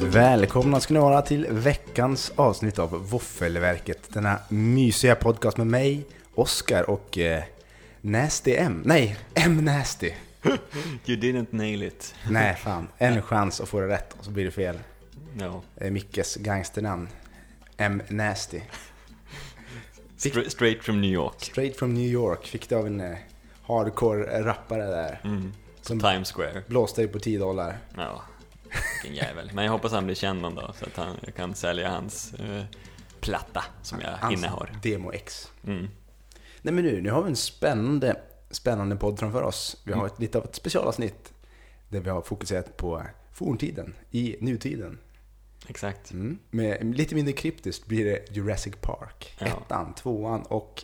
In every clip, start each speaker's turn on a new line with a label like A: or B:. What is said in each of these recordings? A: Välkomna ska ni vara till veckans avsnitt av Våffelverket. Denna mysiga podcast med mig, Oskar och eh, Nasty M. Nej, M Nasty.
B: You didn't nail it.
A: Nej, fan. En chans att få det rätt och så blir det fel.
B: No.
A: Eh, Mickes gangsternamn. M Nasty.
B: Stra- straight from New York.
A: Straight from New York. Fick det av en eh, hardcore rappare där.
B: Mm.
A: Som-
B: Times Square.
A: Blåste ju på 10 dollar.
B: Ja. Vilken jävel. Men jag hoppas han blir känd någon dag så att han, jag kan sälja hans eh, platta som jag
A: Hans
B: innehar.
A: Alltså, Demo X.
B: Mm.
A: Nej men nu, nu har vi en spännande, spännande podd framför oss. Vi
B: Mm.
A: har ett, lite av ett specialavsnitt där vi har fokuserat på forntiden, i nutiden.
B: Exakt.
A: Mm. Med, lite mindre kryptiskt blir det Jurassic Park.
B: Ja.
A: Ettan, tvåan och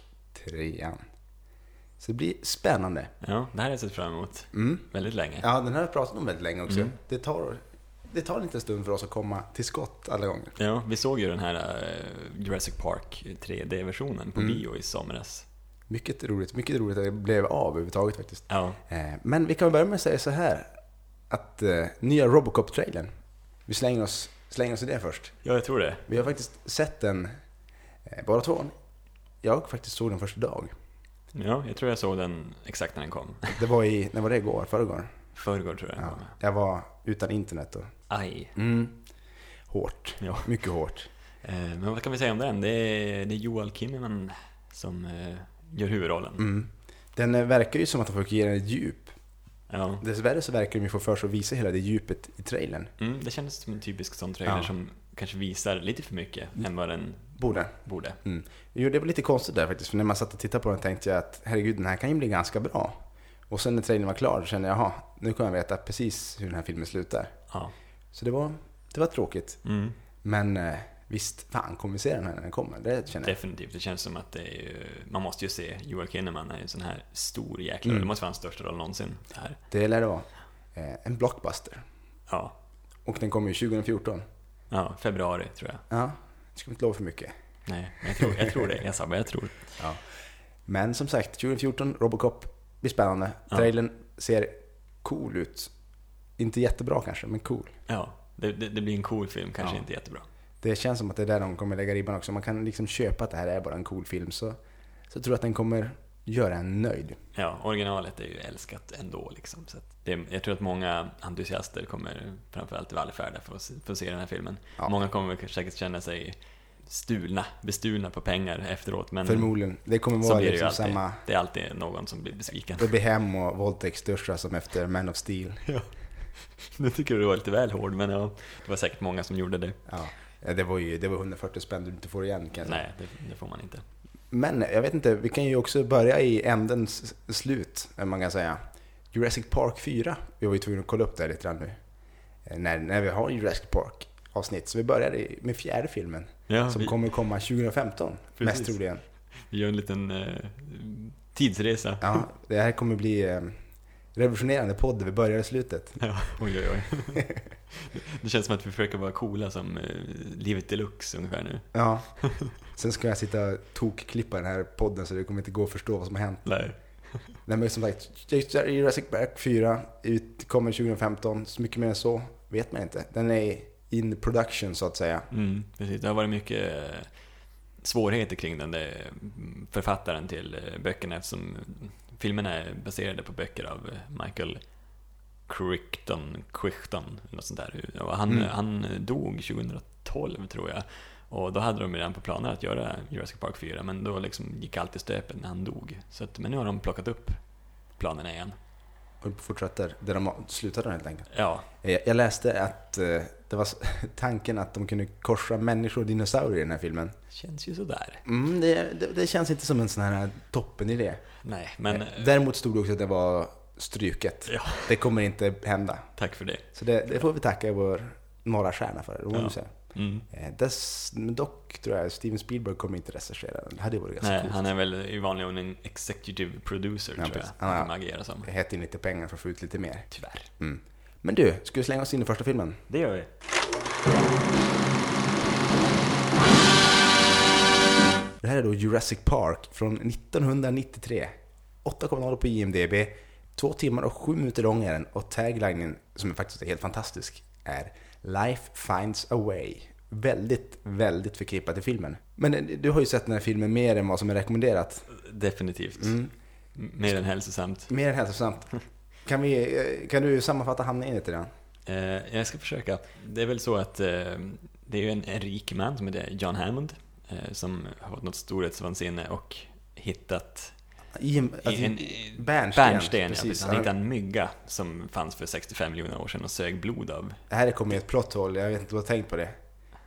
A: trean. Så det blir spännande.
B: Ja, det här har jag sett fram emot
A: Mm.
B: väldigt länge.
A: Ja, den här har vi pratat om väldigt länge också.
B: Mm.
A: Det, tar, det tar en liten stund för oss att komma till skott alla gånger.
B: Ja, vi såg ju den här eh, Jurassic Park 3D-versionen på
A: Mm.
B: bio i somras.
A: Mycket roligt, mycket roligt att det blev av överhuvudtaget faktiskt.
B: Ja,
A: Eh, Men vi kan väl börja med att säga så här. Att eh, nya Robocop-trailern. Vi slänger oss, slänger oss i det först.
B: ja jag tror det.
A: Vi har faktiskt sett den, eh, bara två. Jag faktiskt såg den första dag.
B: Ja, jag tror jag såg den exakt när den kom.
A: Det var i, när var det igår? Förrgår?
B: Förrgår tror jag den
A: Ja,
B: kom.
A: jag var utan internet då.
B: Aj.
A: Hårt.
B: Ja.
A: Mycket hårt.
B: Eh, Men vad kan vi säga om den? Det är, det är Joel Kinnaman som eh, gör huvudrollen.
A: Mm. Den eh, verkar ju som att de får ge den ett djup.
B: Ja.
A: Dessvärre så verkar de ju få för sig att visa hela det djupet i trailern.
B: Mm, det kändes som en typisk sån trailer
A: Ja.
B: som kanske visar lite för mycket än vad den
A: Borde.
B: borde.
A: Mm. Jo, det var lite konstigt där faktiskt. För när man satt och tittade på den tänkte jag att herregud, den här kan ju bli ganska bra. Och sen när trailern var klar så kände jag, jaha, nu kommer jag veta precis hur den här filmen slutar.
B: Ja.
A: Så det var, det var tråkigt.
B: Mm,
A: Men eh, visst, fan kommer vi se den här när den kommer? Det känner jag.
B: definitivt. Det känns som att det är ju, man måste ju se Joel Kinnaman är ju en sån här stor jäkla
A: Mm.
B: Det måste vara hans största roll någonsin. Det här.
A: Det lär det vara. Eh, en blockbuster.
B: Ja.
A: Och den kommer ju 2014.
B: ja, februari tror jag.
A: Ja, det ska vi inte lova för mycket.
B: Nej, men jag tror, jag tror det. Jag sa vad jag tror.
A: Men som sagt, 2014, Robocop, blir spännande.
B: Ja.
A: Trailern ser cool ut. Inte jättebra kanske, men cool.
B: Ja, det, det, det blir en cool film, kanske
A: Ja.
B: inte jättebra.
A: Det känns som att det är där de kommer lägga ribban också. Man kan liksom köpa att det här är bara en cool film. Så, så tror jag att den kommer göra en nöjd.
B: Ja, originalet är ju älskat ändå liksom. Så att det, jag tror att många entusiaster kommer framförallt vallfärda för att, se- för att se den här filmen.
A: Ja.
B: Många kommer väl säkert känna sig stulna, bestulna på pengar efteråt. Men
A: Förmodligen. Det kommer
B: Mm. så
A: vara
B: blir det ju
A: liksom
B: alltid.
A: samma...
B: Det är alltid någon som blir besviken.
A: Det blir hem och våldtäktsduschar som efter Man of Steel.
B: Nu tycker jag du var lite väl hård, men ja, det var säkert många som gjorde det.
A: Ja, Ja, det var ju det var 140 spänn du inte får igen kan jag säga.
B: Nej, det, det får man inte.
A: Men jag vet inte, vi kan ju också börja i ändens s- slut, eh, man kan säga. Jurassic Park 4. Vi var ju tvungna att kolla upp det här lite grann nu. Eh, När, när vi har Jurassic Park avsnitt. Så vi börjar i- med fjärde filmen.
B: Ja,
A: som
B: vi,
A: kommer att komma 2015, mest
B: Precis.
A: troligen.
B: vi gör en liten eh, tidsresa.
A: Ja, det här kommer bli eh, revolutionerande podd där vi börjar i slutet.
B: Ja, oj, oj, oj. Det känns som att vi försöker vara coola som eh, livet deluxe ungefär nu.
A: Ja. Sen ska jag sitta och tokklippa den här podden så det kommer inte gå att förstå vad som har hänt.
B: Nej.
A: Nej men som sagt, Jurassic Park 4 ut, kommer 2015. Så mycket mer än så vet man inte. Den är in production så att säga.
B: Mm, precis. Det har varit mycket eh, svårigheter kring den där mm, författaren till eh, böckerna eftersom filmerna är baserade på böcker av eh, Michael Crichton, Crichton något sånt där. Och han,
A: Mm.
B: han dog 2012 tror jag. Och då hade de redan på planer att göra Jurassic Park 4 men då liksom gick allt i stöpet när han dog. Så att, men nu har de plockat upp planerna igen.
A: Och fortsätter där de slutade helt enkelt.
B: Ja,
A: Eh, Jag läste att eh, det var s- tanken att de kunde korsa människor och dinosaurier i den här filmen.
B: känns ju sådär.
A: Mm, det, det, det känns inte som en sån här toppenidé.
B: Nej,
A: Eh,
B: men eh,
A: Däremot stod det också att det var stryket.
B: Ja.
A: Det kommer inte hända.
B: tack för det.
A: Så det, det får vi tacka vår norra stjärna för. Det får man
B: Ja.
A: säga.
B: Mm.
A: Eh, dess, men dock tror jag Steven Spielberg kommer inte recensera den. Det hade ju varit ganska
B: Nej,
A: coolt.
B: han är väl i vanlig ordning executive producer
A: Ja,
B: tror jag.
A: precis.
B: Han
A: Ja.
B: kommer agera som.
A: Det hette in lite pengar för att få ut lite mer.
B: Tyvärr.
A: Mm. Men du, ska vi slänga oss in i första filmen?
B: Det gör vi.
A: Det här är då Jurassic Park från 1993. 8,0 på IMDB. Två timmar och sju minuter lång är den och taglinen, som faktiskt är helt fantastisk, är Life finds a way. Väldigt, väldigt förknippat i filmen. Men eh, du har ju sett den här filmen mer än vad som är rekommenderat.
B: Definitivt.
A: Mm.
B: Mer än hälsosamt.
A: Mer än hälsosamt. Kan, vi, eh, kan du sammanfatta handlingen lite grann?
B: Eh, jag ska försöka. Det är väl så att eh, det är ju en, en rik man som heter John Hammond eh, som har fått något storhetsvansinne och hittat
A: I en, alltså,
B: en
A: bärnsten.
B: bärnsten. ja,
A: precis.
B: precis. Han hittade en mygga som fanns för 65 miljoner år sedan och sög blod av.
A: Det här kommer ju ett plott hål, jag vet inte om du har tänkt på det.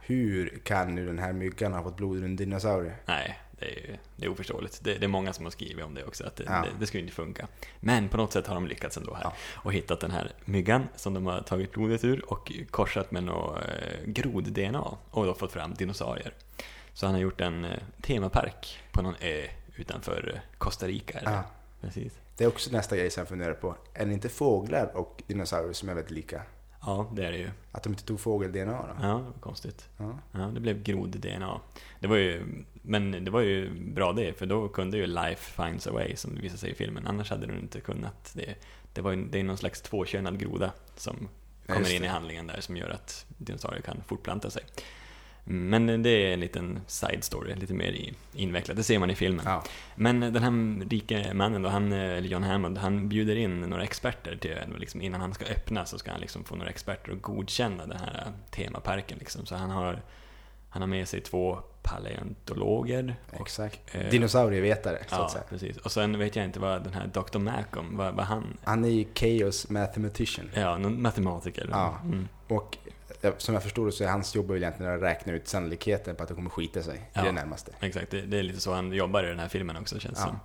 A: Hur kan nu den här myggan ha fått blod ur en dinosaurie?
B: Nej, det är, ju- det är oförståeligt. Det, det är många som har skrivit om det också, att det,
A: Ja.
B: det, det skulle inte funka. Men på något sätt har de lyckats ändå här
A: Ja.
B: och hittat den här myggan som de har tagit blodet ur och korsat med något eh, grod-DNA och då fått fram dinosaurier. Så han har gjort en eh, temapark på någon ö utanför eh, Costa Rica. Eller?
A: Ja.
B: Precis.
A: Det är också nästa grej som jag funderar på. Är det inte fåglar och dinosaurier som är väldigt lika?
B: ja, det är det ju.
A: Att de inte tog fågel-DNA då?
B: Ja, vad konstigt.
A: Ja.
B: Ja, det blev grod-DNA. Det var ju, men det var ju bra det, för då kunde ju Life finds a way, som det visar sig i filmen. Annars hade du inte kunnat det. Det, var ju, det är någon slags tvåkönad groda som
A: Ja,
B: kommer
A: just
B: in
A: det.
B: i handlingen där som gör att dinosaurier kan fortplanta sig. Men det är en liten side story, lite mer i- invecklat. Det ser man i filmen.
A: Ja.
B: Men den här rike mannen då, han, eh, eller John Hammond, han bjuder in några experter till ön. och Liksom, innan han ska öppna så ska han liksom få några experter att godkänna den här eh, temaparken. Liksom. Så han har, han har med sig två paleontologer. Och,
A: Exakt.
B: eh,
A: Dinosaurievetare, så
B: ja,
A: att säga.
B: precis. Och sen vet jag inte vad den här Dr. Malcolm, vad, vad han...
A: Han är ju Chaos Mathematician.
B: Ja, någon matematiker.
A: Ja.
B: Mm.
A: Och eh, som jag förstod det så är hans jobb väl egentligen att räkna ut sannolikheten på att det kommer skita sig
B: Ja.
A: i det närmaste.
B: Exakt, det, det är lite så han jobbar i den här filmen också känns
A: Ja.
B: som.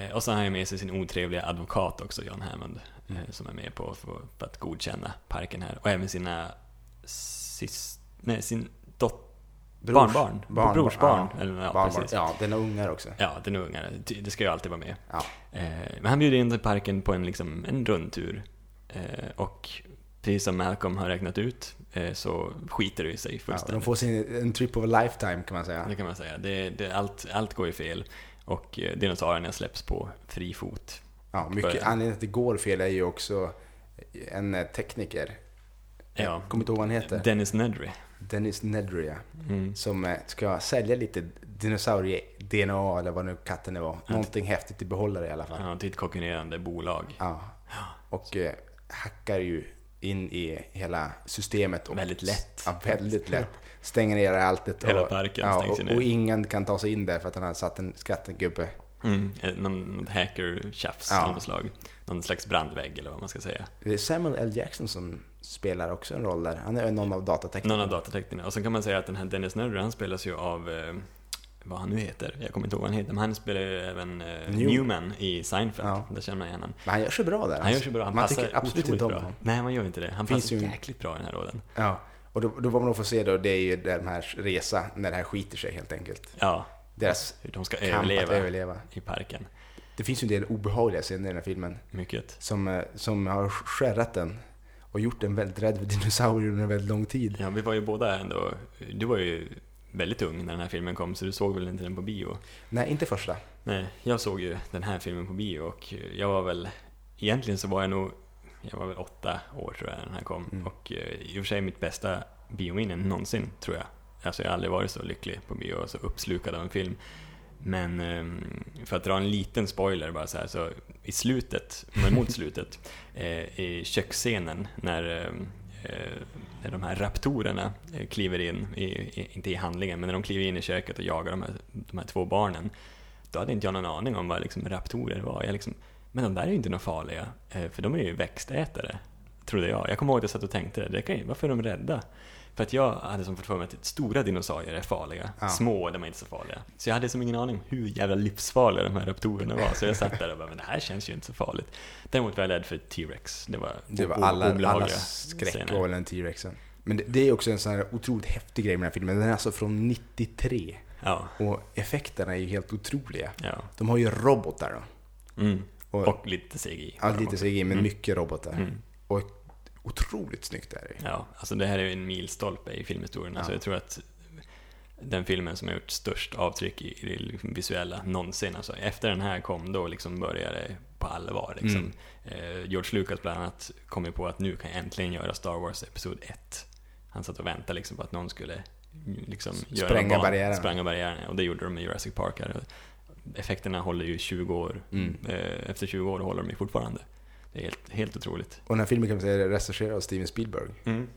B: Eh, och så har han ju med sig sin otrevliga advokat också, John Hammond,
A: Mm.
B: eh, som är med på för, för att godkänna parken här. Och även sina sys, nej, sin dot,
A: Brors-
B: barnbarn,
A: barnbarn,
B: brors barn. Eller, ja,
A: Barnbarn.
B: precis.
A: Ja, den är ungar också.
B: Ja, den ungarna, ty- det ska ju alltid vara med.
A: Ja.
B: Eh, men han bjuder in till parken på en, liksom, en rundtur. Eh, och precis som Malcolm har räknat ut eh, så skiter det ju sig
A: Ja,
B: fullständigt.
A: de får sin, en trip of a lifetime kan man säga.
B: Det kan man säga. Det, det, allt, allt går ju fel och eh, dinosaurierna släpps på fri fot.
A: Ja, mycket,
B: Börja.
A: anledningen till att det går fel är ju också en eh, tekniker.
B: Ja.
A: Jag kommer inte ihåg vad han heter.
B: Dennis Nedry.
A: Dennis Nedry,
B: Mm.
A: Som eh, ska sälja lite dinosaurie-DNA eller vad nu katten det var. Någonting häftigt i behållare i alla
B: Han
A: fall.
B: har ett ett konkurrerande bolag.
A: Ja. Och eh, hackar ju in i hela systemet. Och,
B: Väldigt lätt.
A: Ja, väldigt lätt. Stänger ner alltet.
B: Hela parken
A: ja,
B: stängs ju
A: och,
B: ner.
A: och ingen kan ta sig in där för att han har satt en skattegubbe.
B: Mm. eh, Någon, någon hacker-tjafs
A: Ja.
B: av något slag. Någon slags brandvägg eller vad man ska säga.
A: Det är Samuel L. Jackson som spelar också en roll där. Han är någon av datateknikerna.
B: Någon av datateknikerna. Och sen kan man säga att den här Dennis Nedry, han spelas ju av eh, vad han nu heter. Jag kommer inte ihåg vad han heter. Men han spelar ju även eh,
A: Newman.
B: Newman i Seinfeld.
A: Ja.
B: Där känner man igen honom.
A: Men han gör sig bra där.
B: Han gör sig bra. Han
A: man
B: passar
A: tycker absolut
B: otroligt
A: inte om
B: bra.
A: honom.
B: Nej, man gör inte det. Han
A: Finns
B: passar
A: ju-
B: jäkligt bra i den här rollen.
A: Ja. Och då, då vad man då får se då, det är ju den här resa när det här skiter sig helt enkelt.
B: Ja,
A: Deras
B: hur de ska
A: kamp att
B: överleva
A: överleva.
B: i parken.
A: Det finns ju en del obehagliga scener i den här filmen
B: Mycket.
A: som, eh, som har skärrat den och gjort den väldigt rädd för dinosaurier under en väldigt lång tid.
B: Ja, vi var ju båda ändå, du var ju väldigt ung när den här filmen kom, så du såg väl inte den på bio?
A: Nej, inte första.
B: Nej, jag såg ju den här filmen på bio och jag var väl, egentligen så var jag nog, jag var väl åtta år tror jag när den här kom.
A: Mm.
B: Och eh, i och för sig mitt bästa biominne någonsin, tror jag. Alltså jag har aldrig varit så lycklig på bio och så uppslukad av en film. Men eh, för att dra en liten spoiler bara så här, så i slutet, men mot slutet, eh, i köksscenen när eh, eh, när de här raptorerna eh, kliver in, i, i, inte i handlingen, men när de kliver in i köket och jagar de här, de här två barnen, då hade inte jag någon aning om vad liksom raptorer var. Jag liksom, men de där är ju inte några farliga, eh, för de är ju växtätare, trodde jag. Jag kommer ihåg att jag satt och tänkte det, det kan ju, varför är de rädda? För att jag hade som fått för mig att stora dinosaurier är farliga,
A: Ja.
B: små de är inte så farliga. Så jag hade som ingen aning om hur jävla livsfarliga de här raptorerna var, så jag satt där och bara, men det här känns ju inte så farligt. Däremot var jag rädd för T-Rex, det var,
A: Det var
B: o-
A: alla, alla
B: obehagliga
A: skräck
B: scener.
A: var väl den T-rexen. Men det, det är också en sån här otroligt häftig grej med den här filmen. Den är alltså från 93
B: Ja,
A: och effekterna är ju helt otroliga.
B: ja.
A: De har ju robotar då.
B: Mm.
A: Och-
B: Och, lite CGI.
A: Ja, lite CGI, men mycket robotar.
B: Mm.
A: Och otroligt snyggt är det ju.
B: Ja, alltså det här är ju en milstolpe i filmhistorien. Alltså
A: Ja.
B: jag tror att den filmen som har gjort störst avtryck i i det liksom visuella någonsin. Alltså efter den här kom då liksom började det på allvar. Liksom.
A: Mm.
B: Eh, George Lucas bland annat kom ju på att nu kan jag äntligen göra Star Wars Episod 1. Han satt och väntade liksom på att någon skulle liksom göra
A: Spränga
B: en ban-
A: barriären.
B: spränga barriären. Och det gjorde de i Jurassic Park. Här. Effekterna håller ju 20 år.
A: Mm.
B: Eh, Efter 20 år håller de ju fortfarande. Det är helt, helt otroligt.
A: Och den här filmen kan man säga är recenserad av Steven Spielberg.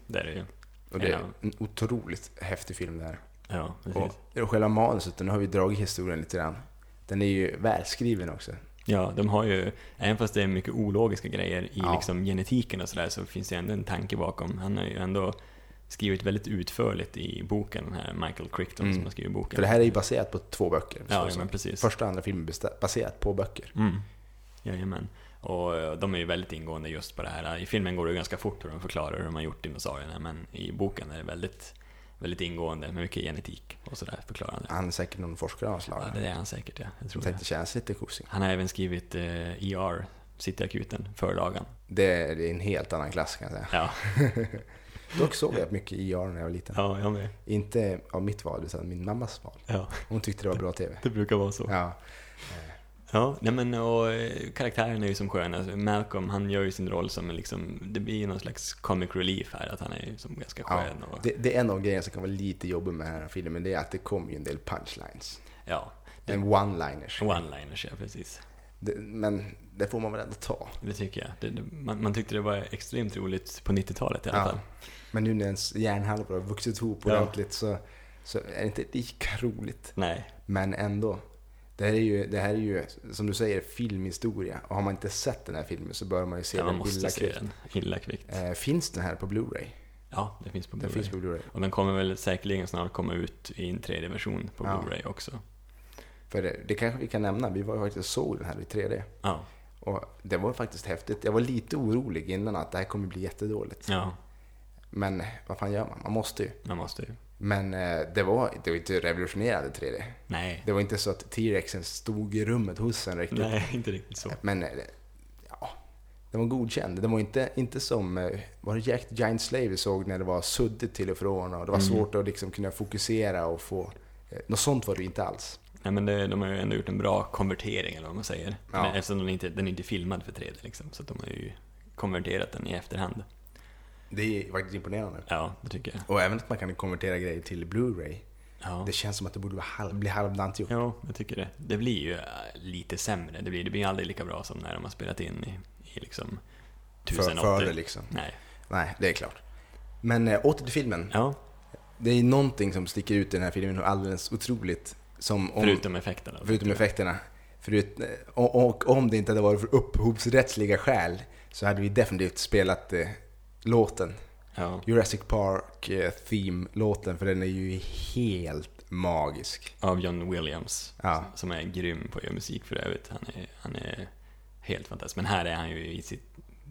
B: Det är det ju.
A: Och det är
B: Ja.
A: en otroligt häftig film det här.
B: Ja, precis.
A: Och, och själva manuset, nu har vi dragit historien lite grann. Den är ju välskriven också.
B: Ja, de har ju, även fast det är mycket ologiska grejer i
A: Ja.
B: liksom genetiken och sådär, så finns det ändå en tanke bakom. Han har ju ändå skrivit väldigt utförligt i boken, den här Michael Crichton
A: Mm.
B: som har skrivit boken.
A: För det här är ju baserat på två böcker.
B: Ja,
A: förstås.
B: ja men precis.
A: Första och andra filmen besta- baserat på böcker.
B: Mm. Jajamän. Och eh, de är ju väldigt ingående just på det här. I filmen går det ju ganska fort hur de förklarar hur de har gjort dinosaurierna, men i boken är det väldigt, väldigt ingående med mycket genetik och sådär förklarande.
A: Han är säkert någon forskare av slag.
B: Ja, det är han säkert, ja. Jag tror
A: Jag
B: det.
A: tänkte känns lite kosing.
B: Han har även skrivit eh, ER, Cityakuten, förlagan.
A: Det är det är en helt annan klass kan jag säga.
B: Ja,
A: Dock såg jag mycket IR när jag var liten.
B: ja jag med.
A: Inte av mitt val, utan min mammas val.
B: Ja,
A: Hon tyckte det var bra TV.
B: det brukar vara så.
A: Ja,
B: Ja, nej men och eh, karaktären är ju som skön. Alltså, Malcolm, han gör ju sin roll som en liksom, det blir ju någon slags comic relief här, att han är ju som ganska
A: Ja,
B: skön. och,
A: det, det är en av grejerna som kan vara lite jobbig med den här filmen. Det är att det kommer ju en del punchlines.
B: ja,
A: En one-liners.
B: one-liners, ja precis.
A: Det, men det får man väl ändå ta.
B: Det tycker jag. Det, det, man, man tyckte det var extremt roligt på 90-talet i alla
A: Ja.
B: fall.
A: Men nu när ens hjärnhalvor har vuxit ihop
B: Ja.
A: ordentligt så, så är det inte lika roligt.
B: Nej,
A: Men ändå. Det här, är ju, det här är ju, som du säger, filmhistoria. Och har man inte sett den här filmen så bör man ju se
B: ja, man
A: den
B: måste
A: illa
B: se
A: kvickt.
B: den. Illa kvickt.
A: Eh, finns den här på Blu-ray?
B: Ja, det finns på
A: Den
B: Blu-ray.
A: finns på Blu-ray.
B: Och den kommer väl säkerligen snart komma ut i en 3D-version på
A: Ja.
B: Blu-ray också.
A: För det, det kanske vi kan nämna, vi var ju faktiskt och såg den här i 3D.
B: Ja,
A: Och det var faktiskt häftigt. Jag var lite orolig innan att det här kommer bli jättedåligt.
B: ja
A: Men eh, vad fan gör man? Man måste ju.
B: man måste ju.
A: Men eh, det var, det var inte revolutionerande 3D.
B: Nej,
A: Det var inte så att T-rexen stod i rummet hos en riktigt.
B: nej inte riktigt så.
A: Men eh, ja, den var godkänd. Den var inte, inte som, eh, var det Jack the Giant Slave vi såg när det var suddigt till och från och det var
B: Mm.
A: svårt att liksom kunna fokusera och få, eh, något sånt var det ju inte alls.
B: Nej men det, de har ju ändå gjort en bra konvertering eller vad man säger.
A: Ja.
B: Men eftersom den inte, den är inte filmad för 3D liksom, så att de har ju konverterat den i efterhand.
A: Det är faktiskt imponerande.
B: Ja, det tycker jag.
A: Och även att man kan konvertera grejer till Blu-ray.
B: Ja,
A: Det känns som att det borde vara halv, bli halvdant gjort.
B: ja jag tycker det. Det blir ju äh, lite sämre, det blir, det blir aldrig lika bra som när de har spelat in i, i liksom
A: för,
B: 1080.
A: för det liksom.
B: Nej.
A: Nej, det är klart. Men eh, åter till filmen.
B: Ja,
A: Det är någonting som sticker ut i den här filmen och alldeles otroligt. Som om,
B: förutom effekterna.
A: förutom effekterna. Förut, eh, och, och om det inte hade varit för upphovsrättsliga skäl så hade vi definitivt spelat eh, låten.
B: Ja.
A: Jurassic Park eh, Theme-låten, för den är ju helt magisk.
B: Av John Williams,
A: Ja.
B: som är grym på att göra musik för övrigt. Han är, han är helt fantastisk. Men här är han ju i sitt,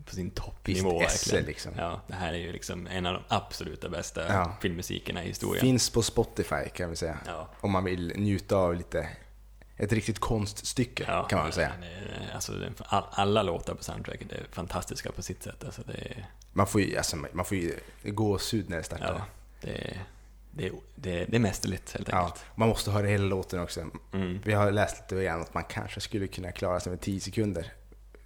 B: på sin
A: Visst
B: toppnivå
A: esse
B: verkligen.
A: liksom.
B: Ja, det här är ju liksom en av de absoluta bästa
A: Ja.
B: filmmusikerna i historien.
A: Finns på Spotify kan vi säga.
B: ja.
A: om man vill njuta av lite ett riktigt konststycke
B: Ja,
A: kan man väl säga.
B: men, eh, Alltså, den- all, alla låtar på soundtracket är fantastiska på sitt sätt. Alltså, det, är-
A: Man får ju, alltså, man får ju gåshud när det startar.
B: ja, det, är- det, är- det, är- det är mästerligt helt
A: Ja,
B: enkelt.
A: man måste höra hela låten också.
B: Mm.
A: Vi har läst lite grann att man kanske skulle kunna klara sig med 10 sekunder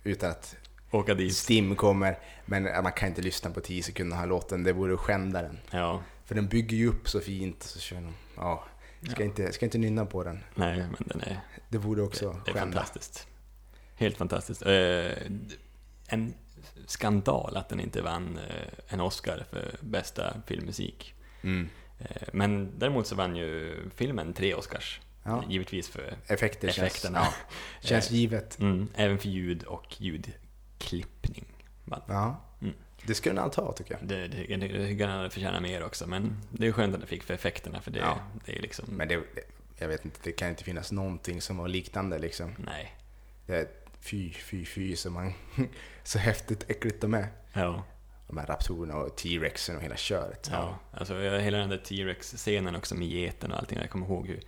A: utan att
B: Åka dit.
A: STIM kommer. Men man kan inte lyssna på 10 sekunder av låten, det vore att skända den.
B: Ja,
A: För den bygger ju upp så fint. Så kör de, ja, ska,
B: Ja.
A: Inte, ska inte nynna på den.
B: nej, men den är,
A: Det vore också
B: det är
A: skända.
B: fantastiskt. Helt fantastiskt. Eh, en skandal att den inte vann eh, en Oscar för bästa filmmusik.
A: Mm.
B: Eh, men däremot så vann ju filmen tre Oscars.
A: Ja.
B: Givetvis för
A: Effekter känns,
B: Effekterna.
A: ja, känns givet.
B: Mm, även för ljud och ljudklippning. vann.
A: Ja.
B: Mm.
A: Det skulle den ta tycker jag.
B: Det, det, det, det tycker jag han förtjänar mer också, men det är skönt att han fick för effekterna för det,
A: Ja.
B: det är liksom...
A: Men det, det- jag vet inte, det kan inte finnas någonting som var liknande liksom.
B: Nej.
A: Det är fy, fy, fy som man... så häftigt äckligt de är.
B: Ja,
A: De här raptorerna och T-rexen och hela köret.
B: ja. Alltså hela den där T-Rex-scenen också med geten och allting, jag kommer ihåg hur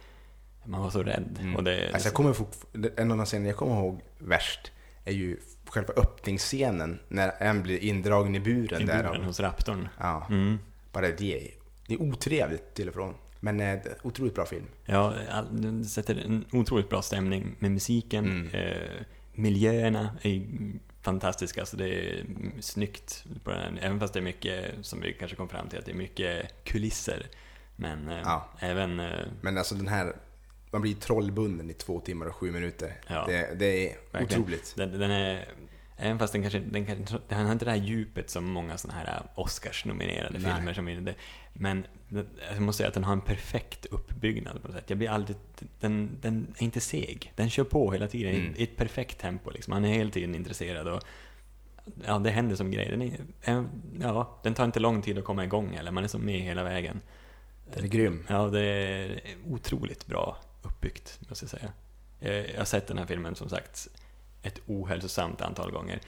B: man var så rädd.
A: Mm.
B: Och det,
A: Alltså jag kommer fortf- en av de scener jag kommer ihåg värst är ju själva öppningsscenen när en blir indragen i buren.
B: i
A: där.
B: buren hos raptorn.
A: Ja,
B: Mm.
A: bara det är, det är otrevligt till och från. Men eh, det är otroligt bra film.
B: Ja, all, den sätter en otroligt bra stämning med musiken.
A: Mm.
B: Eh, miljöerna är ju fantastiska. Alltså det är snyggt. På den, här- även fast det är mycket, som vi kanske kom fram till, att det är mycket kulisser. Men eh,
A: Ja.
B: även, eh,
A: Men alltså den här, man blir trollbunden i två timmar och sju minuter.
B: Ja.
A: Det, det är
B: Verkligen.
A: otroligt.
B: den, den är, även fast den kanske, den kanske den har inte det här djupet som många sådana här äh, Oscars-nominerade
A: Nej.
B: filmer som är det. Men den- jag måste säga att den har en perfekt uppbyggnad på något sätt. Jag blir aldrig, den, den är inte seg. Den kör på hela tiden i-
A: Mm.
B: i ett perfekt tempo liksom. Han är hela tiden intresserad och ja, det händer som grejer. Den, är, en- ja, den tar inte lång tid att komma igång eller man är som med hela vägen.
A: Den är grym.
B: Ja, det är otroligt bra uppbyggt, måste jag säga. Eh, Jag har sett den här filmen, som sagt, ett ohälsosamt antal gånger.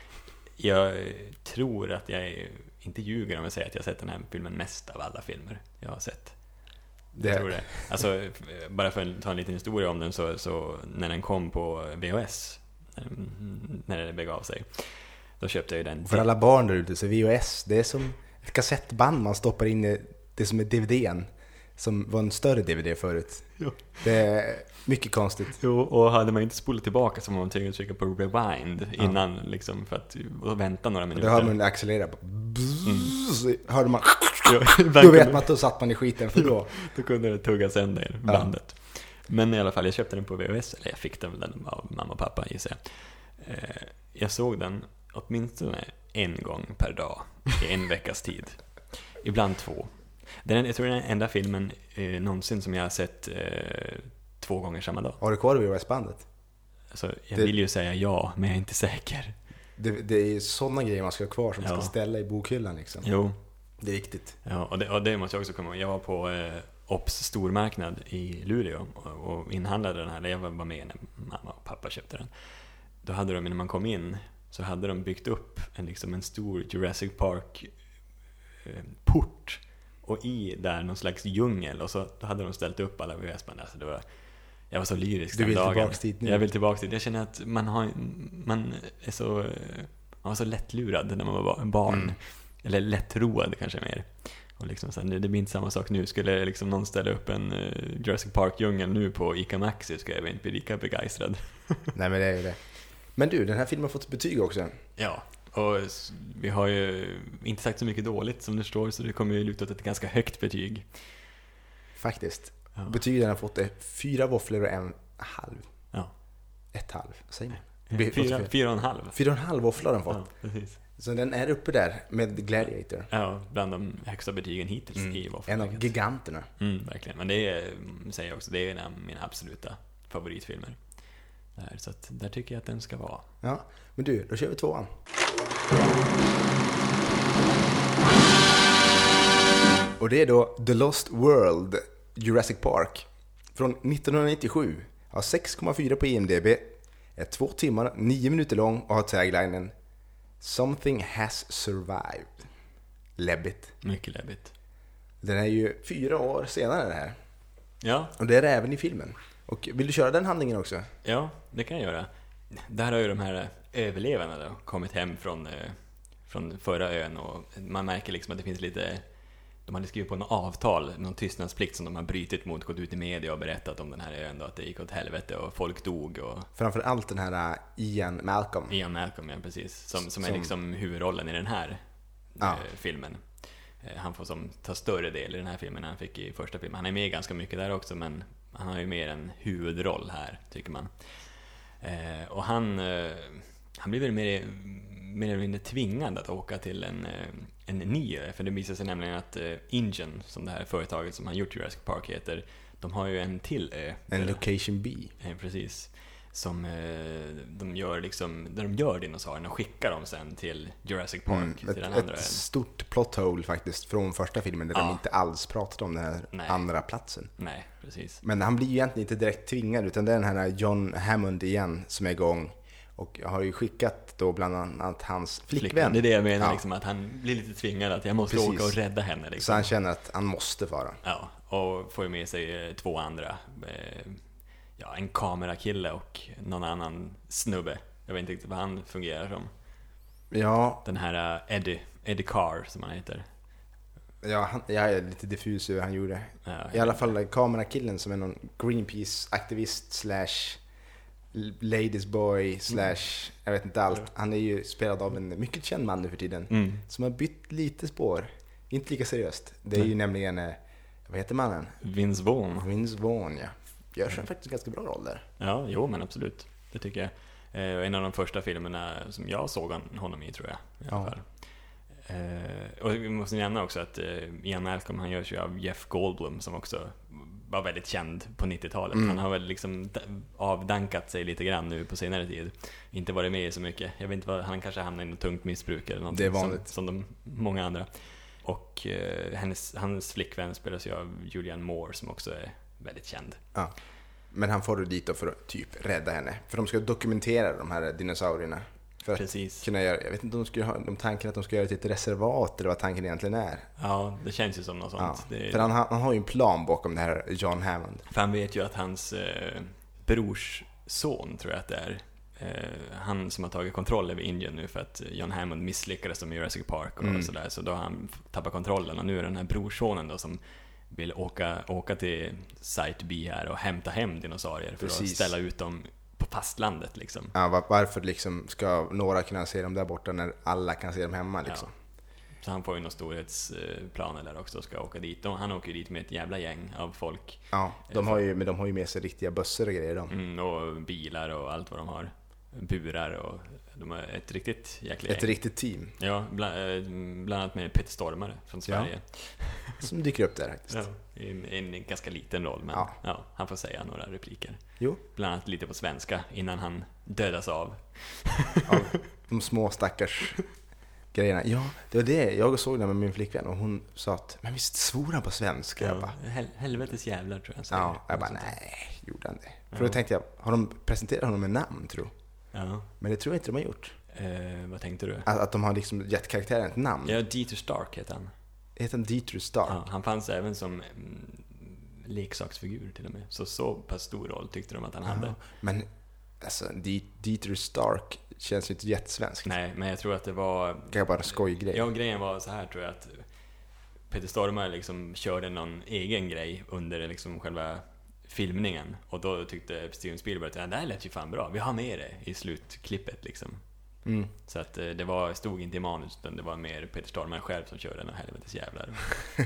B: Jag eh, tror att jag är- inte ljuger om jag säger att jag har sett den här filmen mest av alla filmer jag har sett. Jag tror
A: Det,
B: det. Alltså, eh, bara för att ta en liten historia om den, så, så när den kom på VHS, när den- ehm, när det begav sig, då köpte jag ju den.
A: för alla barn där ute så är VHS, det är som ett kassettband man stoppar in i det som är DVDn. Som var en större DVD förut.
B: Ja.
A: Det är mycket konstigt.
B: Jo, och hade man inte spolat tillbaka så var man tvungen att trycka på rewind innan liksom, för att och vänta några
A: Då
B: minuter.
A: hör man det accelerera. bara bzzz,
B: Mm.
A: Så hörde man,
B: Jo,
A: då vet man att då satt man i skiten för då.
B: Då kunde det tugga sönder
A: Ja.
B: bandet. Men i alla fall, jag köpte den på VHS, eller jag fick den väl av mamma och pappa gissar jag. Eh, Jag såg den åtminstone en gång per dag i en veckas tid. Ibland två. Det är, jag tror det är den enda filmen eh, någonsin som jag har sett eh, två gånger samma dag.
A: Har du kvar VHS-bandet?
B: Alltså, jag
A: Det-
B: vill ju säga ja, men jag är inte säker.
A: Det, det är sådana grejer man ska ha kvar som
B: Ja.
A: ska ställa i bokhyllan liksom.
B: Jo,
A: Det är viktigt.
B: Ja, och det, och det måste jag också komma ihåg. Jag var på eh, Ops stormarknad i Luleå och, och inhandlade den här. Eller jag var var med när mamma och pappa köpte den. Då hade de, när man kom in, så hade de byggt upp en, liksom en stor Jurassic Park-port. Och i där någon slags djungel och så då hade de ställt upp alla VHS-band. Alltså det var, jag var så lyrisk
A: Du
B: den
A: vill
B: dagen.
A: tillbaks dit nu.
B: Jag vill tillbaka dit. Jag känner att man, har, man är så, eh, man var så lättlurad när man var ba- barn.
A: Mm.
B: Eller lättroad kanske mer. Och liksom så här, det det blir inte samma sak nu. Skulle liksom någon ställa upp en eh, Jurassic Park-djungel nu på ICA Maxi skulle jag inte bli lika begeistrad.
A: Nej men det är ju det. Men du, den här filmen har fått betyg också.
B: Ja, och s- vi har ju inte sagt så mycket dåligt som det står så det kommer ju luta åt ett ganska högt betyg.
A: Faktiskt.
B: Ja.
A: Betyget den har fått är fyra våfflor och en halv.
B: Ja.
A: Ett halv, vad säger man? Det blir-
B: Fyra, fyra och en halv.
A: Fyra och en halv våffla har den fått.
B: Ja, precis.
A: Så den är uppe där med Gladiator.
B: Ja, bland de högsta betygen hittills
A: Mm.
B: i
A: En
B: Waffle
A: av giganterna.
B: Mm, verkligen. Men det är, mm, säger jag också, det är en av mina absoluta favoritfilmer. Där, så att, där tycker jag att den ska vara.
A: Ja. Men du, då kör vi tvåan. Och det är då The Lost World, Jurassic Park. Från 1997. Har 6,4 på IMDB. Är två timmar, nio minuter lång och har taglinen “Something has survived”. Läbbigt.
B: Mycket läbbigt.
A: Den är ju fyra år senare den här.
B: Ja,
A: Och det är det även i filmen. Och vill du köra den handlingen också?
B: ja, det kan jag göra. Där har ju de här eh, överlevarna då kommit hem från, eh, från förra ön och man märker liksom att det finns lite de hade skrivit på något avtal, någon tystnadsplikt som de har brutit mot, gått ut i media och berättat om den här ön då, att det gick åt helvete och folk dog och
A: Framförallt den här äh, Ian Malcolm.
B: Ian Malcolm, ja precis. Som, som, är
A: Som-
B: liksom huvudrollen i den här
A: Ja.
B: eh, filmen. Eh, han får som ta större del i den här filmen än han fick i första filmen. Han är med ganska mycket där också, men han har ju mer en huvudroll här, tycker man. Eh, och han, eh, han blir väl mer, mer eller mindre tvingad att åka till en, eh, en ny ö, för det visar sig nämligen att eh, Ingen, som det här företaget som han gjort Jurassic Park heter, de har ju en till ö.
A: En
B: Eller-
A: Location B.
B: Eh, precis. Som eh, de gör liksom, där de gör dinosaurierna och skickar dem sen till Jurassic Park, till
A: Mm, ett
B: den andra
A: ett
B: ön.
A: stort plot hole faktiskt från första filmen där
B: Ja.
A: de inte alls pratade om den här
B: Nej.
A: andra platsen.
B: Nej, precis.
A: Men han blir ju egentligen inte direkt tvingad utan det är den här John Hammond igen som är igång. Och har ju skickat då bland annat hans flickvän.
B: Det är det jag menar,
A: Ja.
B: liksom, att han blir lite tvingad att jag måste
A: Precis.
B: åka och rädda henne. Liksom.
A: Så han känner att han måste vara.
B: Ja, och får ju med sig eh, två andra. Eh, ja, en kamerakille och någon annan snubbe. Jag vet inte riktigt vad han fungerar som.
A: Ja,
B: Den här eh, Eddie, Eddie Carr som han heter.
A: ja han, jag är lite diffus hur han gjorde.
B: Ja,
A: I alla fall kamerakillen som är någon Greenpeace-aktivist slash Ladies Boy slash, jag vet inte allt. Han är ju spelad av en mycket känd man nu för tiden.
B: Mm.
A: Som har bytt lite spår. Inte lika seriöst. Det är ju nämligen, eh, vad heter mannen?
B: Vince Vaughn.
A: Vince Vaughn ja. Gör
B: Mm.
A: sig faktiskt en ganska bra roll där.
B: Ja, jo men absolut. Det tycker jag. Eh, en av de första filmerna som jag såg hon- honom i tror jag. I alla
A: Ja.
B: fall. Eh, och vi måste nämna också att eh, Ian Malcolm han görs ju av Jeff Goldblum som också var väldigt känd på 90-talet.
A: Mm.
B: Han har väl liksom d- avdankat sig lite grann nu på senare tid. Inte varit med i så mycket. Jag vet inte vad, han kanske hamnade i något tungt missbruk eller någonting.
A: Det är vanligt.
B: Som, som de många andra. Och eh, hennes, hans flickvän spelas ju av Julianne Moore som också är väldigt känd.
A: Ja. Men han får du dit då för att typ rädda henne. För de ska dokumentera de här dinosaurierna. För att
B: Precis.
A: kunna göra, jag vet inte om de skulle ha de tanken att de ska göra det till ett reservat eller vad tanken egentligen är.
B: Ja, det känns ju som något
A: Ja.
B: sånt. Det,
A: För han, har- han har ju en plan bakom det här John Hammond.
B: för han vet ju att hans eh, brors son, tror jag att det är, eh, han som har tagit kontroll över Indien nu för att John Hammond misslyckades som Jurassic Park och
A: Mm.
B: sådär, så då har han f- tappat kontrollen och nu är det den här brorsonen då som vill åka, åka till Site B här och hämta hem dinosaurier för att
A: Precis.
B: ställa ut dem på fastlandet liksom.
A: Ja, va- varför liksom ska några kunna se dem där borta när alla kan se dem hemma liksom?
B: Så han får ju någon storhetsplan där också och ska åka dit. De- Han åker ju dit med ett jävla gäng av folk.
A: Ja, de har ju, men de har ju med sig riktiga bössor och grejer de.
B: Mm, och bilar och allt vad de har. Burar och de har ett riktigt jäkla
A: Ett
B: gäng.
A: riktigt team
B: Ja, bland, eh, bland annat med Peter Stormare från Sverige.
A: som dyker upp där faktiskt.
B: Ja. I en, i en ganska liten roll, men ja.
A: Ja.
B: han får säga några repliker.
A: Jo,
B: Bland annat lite på svenska innan han dödas av.
A: av de små stackars grejerna. Ja, det var det. Jag såg det med min flickvän och hon sa att men visst svor han på svenska? Jag bara,
B: Hel, helvetes jävlar tror jag han säger.
A: ja, jag bara nej, gjorde han det? För då tänkte jag, har de presenterat honom med namn tro?
B: Ja.
A: Men det tror jag inte de har gjort.
B: Eh, vad tänkte du?
A: Att, att de har liksom gett karaktären ett namn.
B: Ja, Dieter Stark heter han.
A: Heter han Dieter Stark?
B: Ja, han fanns även som mm, leksaksfigur till och med. Så så pass stor roll tyckte de att han hade.
A: Ja, Men alltså, Die- Dieter Stark känns ju inte jättesvenskt.
B: Nej, men jag tror att det var
A: Det kan bara en skojgrej.
B: Ja, grejen var så här tror jag att Peter Stormare liksom körde någon egen grej under liksom själva filmningen och då tyckte Steven Spielberg att "Ja, det här lät ju fan bra, vi har med det i slutklippet liksom.
A: Mm.
B: Så att eh, det var, stod inte i manus utan det var mer Peter Stormare själv som körde den helvetes jävlar.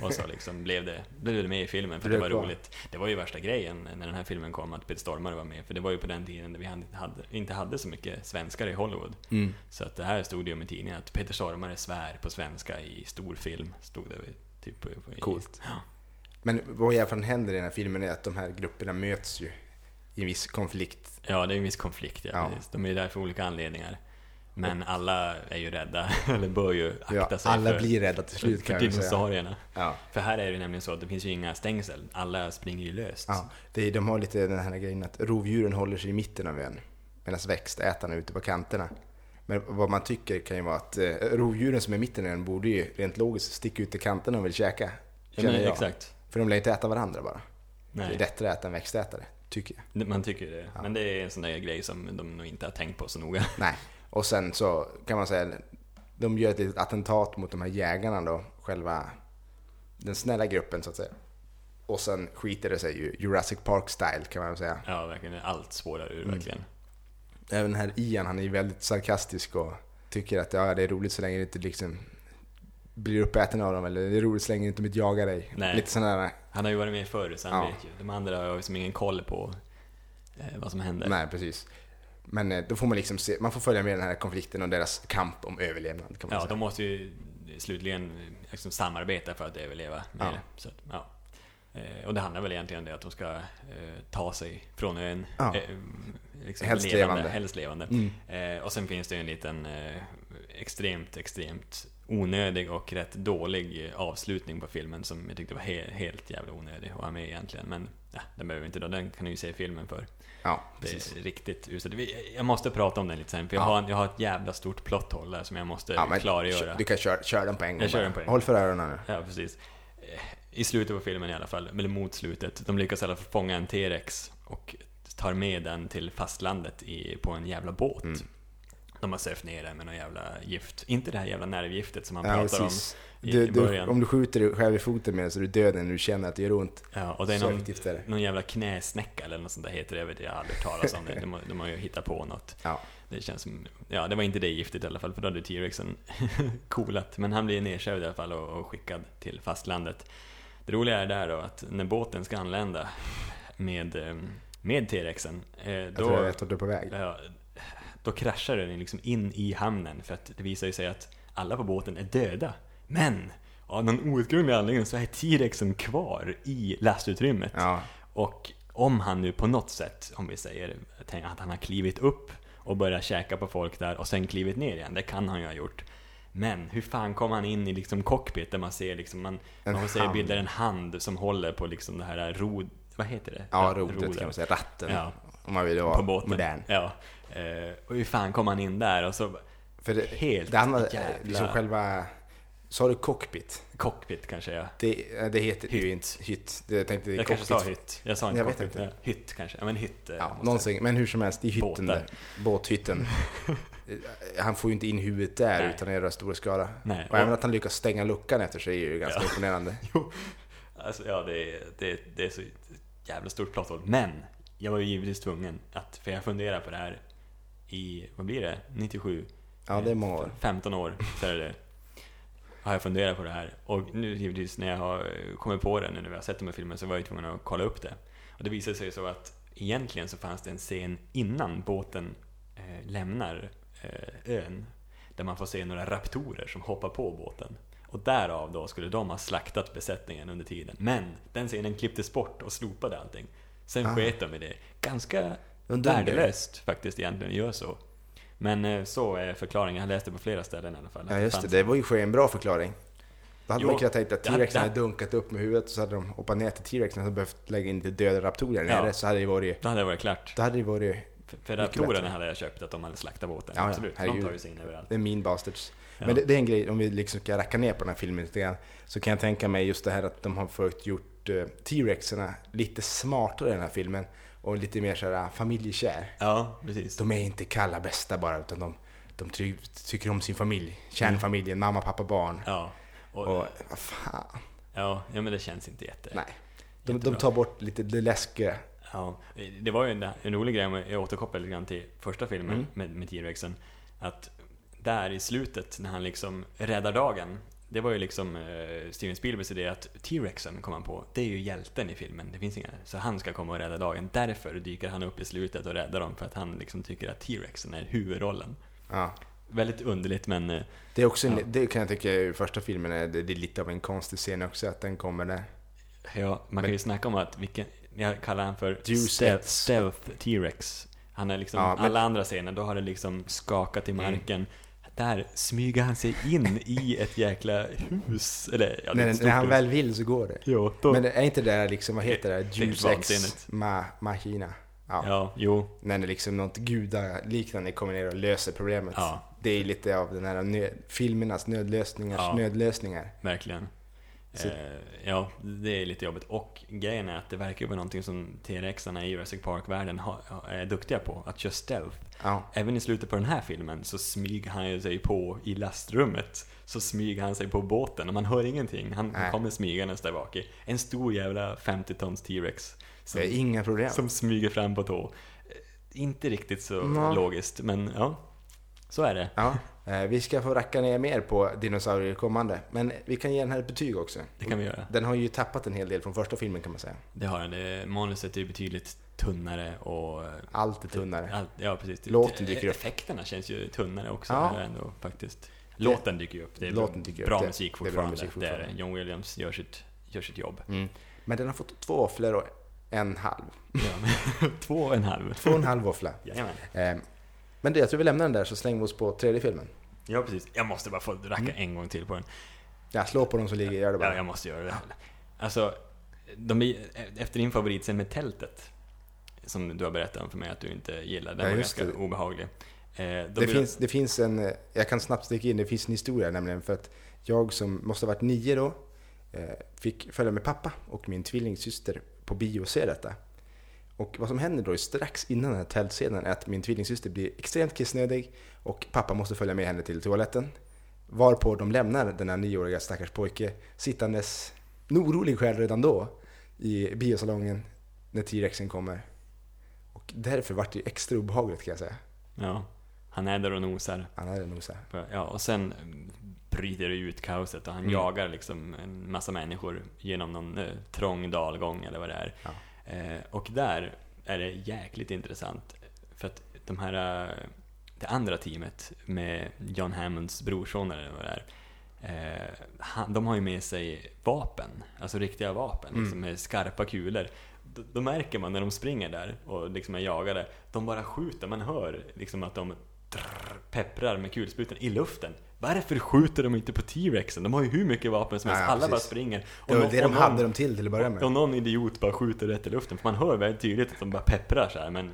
B: Och så liksom blev det, blev det med i filmen för det
A: Blev
B: var
A: kvar.
B: roligt. Det var ju värsta grejen när den här filmen kom att Peter Stormare var med för det var ju på den tiden där vi hade, hade, inte hade så mycket svenskar i Hollywood.
A: Mm.
B: Så att det här stod det om i tidningen att Peter Stormare svär på svenska i stor film. Stod det vid- typ på, på
A: Coolt. Men vad i alla fall händer i den här filmen är att de här grupperna möts ju i en viss konflikt.
B: Ja, det är en viss konflikt. Ja,
A: Ja.
B: Precis. De är ju där för olika anledningar. Men alla är ju rädda, eller bör ju akta
A: Ja,
B: sig
A: alla
B: för,
A: blir rädda till slut kan
B: för
A: jag väl säga.
B: dinosaurierna.
A: Ja.
B: För här är det ju nämligen så att det finns ju inga stängsel. Alla springer ju löst.
A: Ja. Det är, de har lite den här grejen att rovdjuren håller sig i mitten av ön medan växtätarna är ute på kanterna. Men vad man tycker kan ju vara att eh, rovdjuren som är i mitten av ön borde ju rent logiskt sticka ut i kanterna och vill käka.
B: Ja,
A: känner
B: men,
A: jag.
B: exakt.
A: För de lär ju inte äta varandra bara. Det är
B: Nej,
A: bättre att äta en växtätare, tycker jag.
B: det- man tycker ju det. Men det är en sån där grej som de nog inte har tänkt på så noga.
A: Nej. Och sen så kan man säga, de gör ett litet attentat mot de här jägarna då, själva den snälla gruppen så att säga. Och sen skiter det sig ju, Jurassic Park style kan man väl säga.
B: Ja, verkligen. Allt spårar
A: Mm.
B: ur verkligen.
A: Även den här Ian, han är ju väldigt sarkastisk och tycker att ja, det är roligt så länge det inte liksom blir uppäten av dem eller det är roligt så länge det inte mitt jagar dig.
B: Nej.
A: Lite sådana där,
B: Han har ju varit med förr, så han
A: Ja.
B: vet ju. De andra har ju liksom ingen koll på eh, vad som händer.
A: nej precis. Men eh, då får man liksom se, man får följa med den här konflikten och deras kamp om överlevnad kan man
B: Ja,
A: säga.
B: de måste ju slutligen liksom samarbeta för att överleva. Med
A: Ja.
B: det. Så att, ja. Eh, Och det handlar väl egentligen om det att de ska eh, ta sig från ön.
A: Ja.
B: eh, liksom
A: Helst levande.
B: Helst levande.
A: Mm.
B: Eh, Och sen finns det ju en liten eh, extremt, extremt onödig och rätt dålig eh, avslutning på filmen som jag tyckte var he- helt jävla onödig att ha med egentligen. Men ja, den behöver vi inte då, den kan ni ju se filmen för.
A: Ja,
B: Det
A: precis.
B: är riktigt uselt. Vi- Jag måste prata om den lite sen, för jag,
A: Ja.
B: har, en- jag har ett jävla stort plotthål där som jag måste
A: Ja, men
B: klargöra.
A: kö- Du kan köra, köra den på en gång.
B: Jag kör
A: bara.
B: den på en gång.
A: Håll för öronen nu.
B: Ja, precis. Eh, I slutet på filmen i alla fall, eller mot slutet, de lyckas i alla fall fånga
A: Mm.
B: en T-Rex och tar med den till fastlandet i, på en jävla båt. De har sövt ner det med någon jävla gift. Inte det här jävla nervgiftet som man
A: Ja,
B: pratar om.
A: precis.
B: i-
A: Du,
B: i
A: du,
B: början.
A: om du skjuter dig själv i foten med den så är du död när du känner att det gör ont.
B: Ja, och det är
A: så
B: någon,
A: effektivt är det.
B: någon jävla knäsnäcka eller något sånt där heter det. Jag vet jag har aldrig hört talas om det. De, har- de har ju hittat på något.
A: Ja.
B: Det känns som, ja det var inte det giftet i alla fall för då hade T-rexen coolat. Men han blir nedkörd i alla fall och, och skickad till fastlandet. Det roliga är där då att när båten ska anlända med, eh, med T-rexen. eh,
A: Jag tror jag
B: Då,
A: vet vart du är på väg.
B: ja, då kraschar den liksom in i hamnen för att det visar ju sig att alla på båten är döda. Men av någon outgrundlig anledning så är T-rexen kvar i lastutrymmet.
A: Ja,
B: Och om han nu på något sätt, om vi säger tänk att han har klivit upp och börjat käka på folk där och sen klivit ner igen, det kan han ju ha gjort. Men hur fan kom han in i liksom cockpit där man ser liksom, man,
A: En
B: man får säga
A: hand.
B: bildar en hand som håller på liksom det här rod... Vad heter det?
A: ja
B: Ra-
A: rodet kan man säga. Ratten.
B: Ja.
A: Om man vill
B: På
A: vara
B: båten.
A: modern.
B: Ja. Eh, Och hur fan kom han in där? Och så
A: För det,
B: Helt
A: det handlar
B: jävla-
A: liksom själva... Sa du cockpit?
B: cockpit kanske jag...
A: Det, det heter
B: Hytt.
A: ju inte hytt. Det, jag tänkte det är
B: Jag kanske
A: cockpit.
B: sa hytt. Jag sa inte
A: Jag vet
B: cockpit.
A: inte.
B: ja. Hytt kanske. Ja men hytt. eh,
A: Ja,
B: måste-
A: någonsin. Men hur som helst, i hytten
B: Båten.
A: där. Båthytten. han får ju inte in huvudet där
B: Nej.
A: utan det gör stor skada.
B: Nej.
A: Och även att han lyckas stänga luckan efter sig är ju ganska imponerande.
B: Jo, alltså ja, det är, det, är- det är så jävla stort platthål. Men jag var ju givetvis tvungen att, för jag funderar på det här i, vad blir det, 97?
A: Ja, det är många år.
B: 15 år, så är det. Har jag funderat på det här. Och nu givetvis när jag har kommit på det, nu när vi har sett de här filmen, så var jag ju tvungen att kolla upp det. Och det visade sig så att egentligen så fanns det en scen innan båten eh, lämnar eh, ön. Där man får se några raptorer som hoppar på båten. Och därav då skulle de ha slaktat besättningen under tiden. Men den scenen klipptes bort och slopade allting. Sen
A: Ah.
B: sket de i det. Ganska
A: Undrar det.
B: värdelöst faktiskt egentligen, gör så. Men eh, så är förklaringen, jag läste på flera ställen i alla fall. att
A: Ja, just det.
B: fanns-
A: Det var ju en bra förklaring. Då hade
B: Jo,
A: man ju kunnat tänka att
B: det hade-
A: T-rexen
B: det-
A: hade dunkat upp med huvudet och så hade de hoppat ner till T-rexen och så behövt lägga in lite döda raptorer
B: Ja.
A: nere. Så hade det varit...
B: Då hade det varit klart.
A: Då hade det varit...
B: För- För
A: Mycket bättre.
B: raptorerna hade jag köpt att de hade slaktat båten.
A: Ja, ja,
B: Absolut, de
A: herregud.
B: tar ju sig in överallt.
A: Det är mean bastards.
B: Ja.
A: Men det, det är en grej, om vi liksom ska racka ner på den här filmen lite grann. Så kan jag tänka mig just det här att de har försökt gjort eh, T-rexerna lite smartare i den här filmen. Och lite mer såhär familjekär.
B: Ja, precis.
A: De är inte kalla bästa bara, utan de, de ty, tycker om sin familj. Kärnfamiljen, mamma, pappa, barn.
B: Mm. Ja. Och,
A: Och vad fan.
B: ja, ja, men det känns inte jätte...
A: Nej. De, de
B: Jättebra.
A: tar bort lite det läskiga.
B: Ja, det var ju en, en rolig grej, om jag återkopplar lite grann till första filmen med, med T-Rexen. Att där i slutet, när han liksom räddar dagen. Det var ju liksom eh, Steven Spielbergs idé att T-Rexen kom han på. Det är ju hjälten i filmen, det finns inga. Så han ska komma och rädda dagen. Därför dyker han upp i slutet och räddar dem, för att han liksom tycker att T-Rexen är huvudrollen.
A: Ja.
B: Väldigt underligt, men eh,
A: Det, är också en,
B: Ja.
A: det kan jag tycka i första filmen är, det, det är lite av en konstig scen också, att den kommer där.
B: Ja, man kan
A: Men-
B: ju snacka om att, vilken, jag kallar han för
A: Deus
B: stealth,
A: Ex.
B: stealth T-Rex. Han är liksom,
A: Ja, men- Mm.
B: alla andra scener, då har det liksom skakat i marken. Där smyger han sig in i ett jäkla hus, eller ja, det är ett
A: när,
B: stort
A: när han
B: hus.
A: väl vill så går det.
B: Jo, då,
A: Men är inte det där liksom, vad heter det?
B: Det är
A: Deus
B: vansinnigt.
A: ex ma, machina. Ja.
B: ja, jo,
A: När det liksom något gudaliknande kommer ner och löser problemet.
B: Ja.
A: Det är lite av den här nö, filmernas nödlösningars
B: Ja.
A: nödlösningar.
B: verkligen.
A: Så-
B: Eh, ja, det är lite jobbigt. Och grejen är att det verkar ju vara någonting som T-Rexarna i Jurassic Park-världen har- är duktiga på, att köra stealth.
A: Ja.
B: Även i slutet på den här filmen så smyger han ju sig på i lastrummet. Så smyger han sig på båten och man hör ingenting. Han
A: Nej.
B: kommer smygandes där bak i. En stor jävla 50 tons T-Rex. Som,
A: Det är inga problem.
B: som smyger fram på tå. Eh, Inte riktigt så
A: Nå.
B: logiskt, men ja. Så är det.
A: Ja. Eh, Vi ska få racka ner mer på dinosaurier kommande. Men vi kan ge den här ett betyg också.
B: Det kan vi göra.
A: Den har ju tappat en hel del från första filmen kan man säga.
B: Det har han. Det- Manuset är ju betydligt tunnare och... eh,
A: Allt är tunnare.
B: Allt, ja, precis. Det-
A: Låten
B: det-
A: dyker upp.
B: Effekterna känns ju tunnare också
A: Ja.
B: här ändå faktiskt. Låten dyker ju upp. Det är
A: Låten
B: bra,
A: dyker upp.
B: bra
A: Det-
B: musik
A: det är bra
B: fortfarande.
A: musik
B: Det är det.
A: fortfarande.
B: John Williams gör sitt, gör sitt jobb.
A: Mm. Men den har fått två våfflor och en halv.
B: Ja, men- två och en halv.
A: Två och en halv våffla.
B: Jajamän.
A: Eh, Men det, jag tror vi lämnar den där så slänger vi oss på tredje filmen.
B: Ja, precis. Jag måste bara få racka en gång till på den.
A: Ja, slå på dem så ligger gör det
B: Ja,
A: Mm. bara.
B: jag måste göra det. Alltså, de, är- efter din favoritscen med tältet, som du har berättat om för mig att du inte gillar, den
A: Ja,
B: var
A: just
B: ganska
A: det.
B: obehaglig. Eh, de
A: Det
B: blir-
A: finns, det finns en, eh, jag kan snabbt sticka in, det finns en historia nämligen för att jag som måste ha varit nio då eh, fick följa med pappa och min tvillingsyster på bio och se detta. Och vad som händer då är strax innan den här tältscenen är att min tvillingsyster blir extremt kissnödig och pappa måste följa med henne till toaletten. Varpå de lämnar den här nioåriga stackars pojke sittandes, en orolig själ redan då, i biosalongen när T-rexen kommer. Och därför vart det ju extra obehagligt kan jag säga.
B: Ja, han är där och nosar.
A: Han hade nog så här.
B: Ja, och sen mm, bryter det ut kaoset och han
A: Mm.
B: jagar liksom en massa människor genom någon eh, trång dalgång eller vad det är.
A: Ja.
B: Eh, och där är det jäkligt intressant. För att de här, eh, det andra teamet med John Hammonds brorson eller vad det är. Eh, han, de har ju med sig vapen, alltså riktiga vapen,
A: Mm.
B: liksom med skarpa kulor. Då, då märker man när de springer där och liksom är jagade, de bara skjuter, man hör liksom att de drrr, pepprar med kulsprutan i luften. Varför skjuter de inte på T-rexen? De har ju hur mycket vapen som
A: Ja,
B: helst,
A: ja,
B: alla bara
A: precis.
B: springer. Och
A: Det var
B: nå-
A: det
B: och
A: de
B: någon-
A: hade dem till till att börja
B: och
A: med.
B: någon idiot bara skjuter rätt i luften, för man hör väldigt tydligt att de bara pepprar så här, men...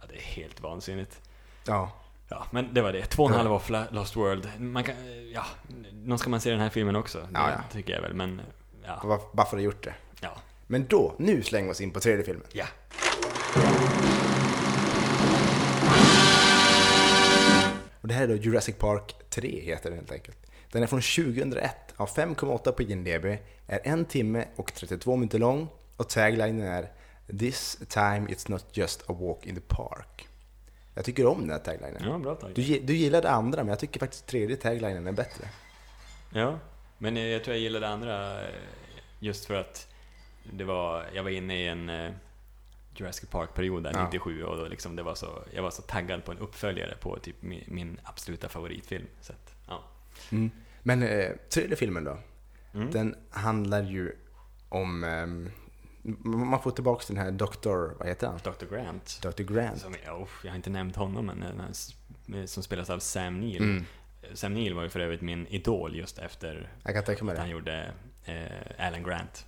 B: Ja, det är helt vansinnigt.
A: Ja,
B: Ja, men det var det. Två och en
A: Ja.
B: halv våffla, Lost World. Man kan, ja, någon ska man se den här filmen också. Det
A: Ja, ja.
B: tycker jag väl, men... Ja,
A: varför varför har du gjort det?
B: ja,
A: Men då, nu slänger vi oss in på tredje filmen.
B: ja.
A: Och det här är då Jurassic Park 3 heter den helt enkelt. Den är från 2001, har 5,8 på IMDB, är en timme och 32 minuter lång och taglinen är “This time it's not just a walk in the park”. Jag tycker om den här taglinen.
B: ja bra tag.
A: Du, gi- du gillade andra, men jag tycker faktiskt tredje taglinen är bättre.
B: Ja, men eh, jag tror jag gillade andra eh, just för att det var, jag var inne i en eh, Jurassic Park-period där,
A: Ja.
B: 97, och då liksom det var så, jag var så taggad på en uppföljare på typ min, min absoluta favoritfilm. Så att, ja.
A: Men eh, tredje filmen då,
B: Mm.
A: den handlar ju om... ehm, m- man får tillbaka den här Dr. Vad heter han?
B: Dr. Grant.
A: Dr. Grant.
B: Som, ja, uff, jag har inte nämnt honom men den här s- eh, som spelas av Sam Neill. Eh,
A: Mm.
B: Sam Neill var ju för övrigt min idol just efter
A: Jag kan tänka mig
B: att han
A: det.
B: gjorde eh, Alan Grant.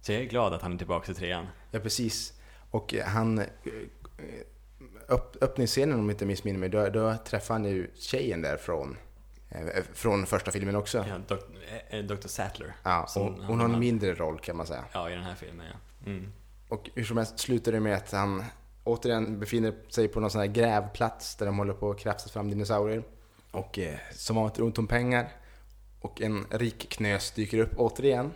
B: Så jag är glad att han är tillbaka i trean.
A: Ja, precis. Och eh, han... eh, Öpp, öppningsscenen, om jag inte missminner mig, då, då träffar han ju tjejen där från, eh, från första filmen också.
B: Ja, dok, eh, eh, Dr. Sattler.
A: Ja,
B: Som
A: hon,
B: han-
A: hon har en
B: han-
A: mindre roll kan man säga.
B: Ja, i den här filmen ja. Mm.
A: Och hur som helst slutar det med att han återigen befinner sig på någon sån här grävplats där de håller på att krafsa fram dinosaurier. Och eh, som vanligt ont om pengar. Och en rik knös dyker upp återigen.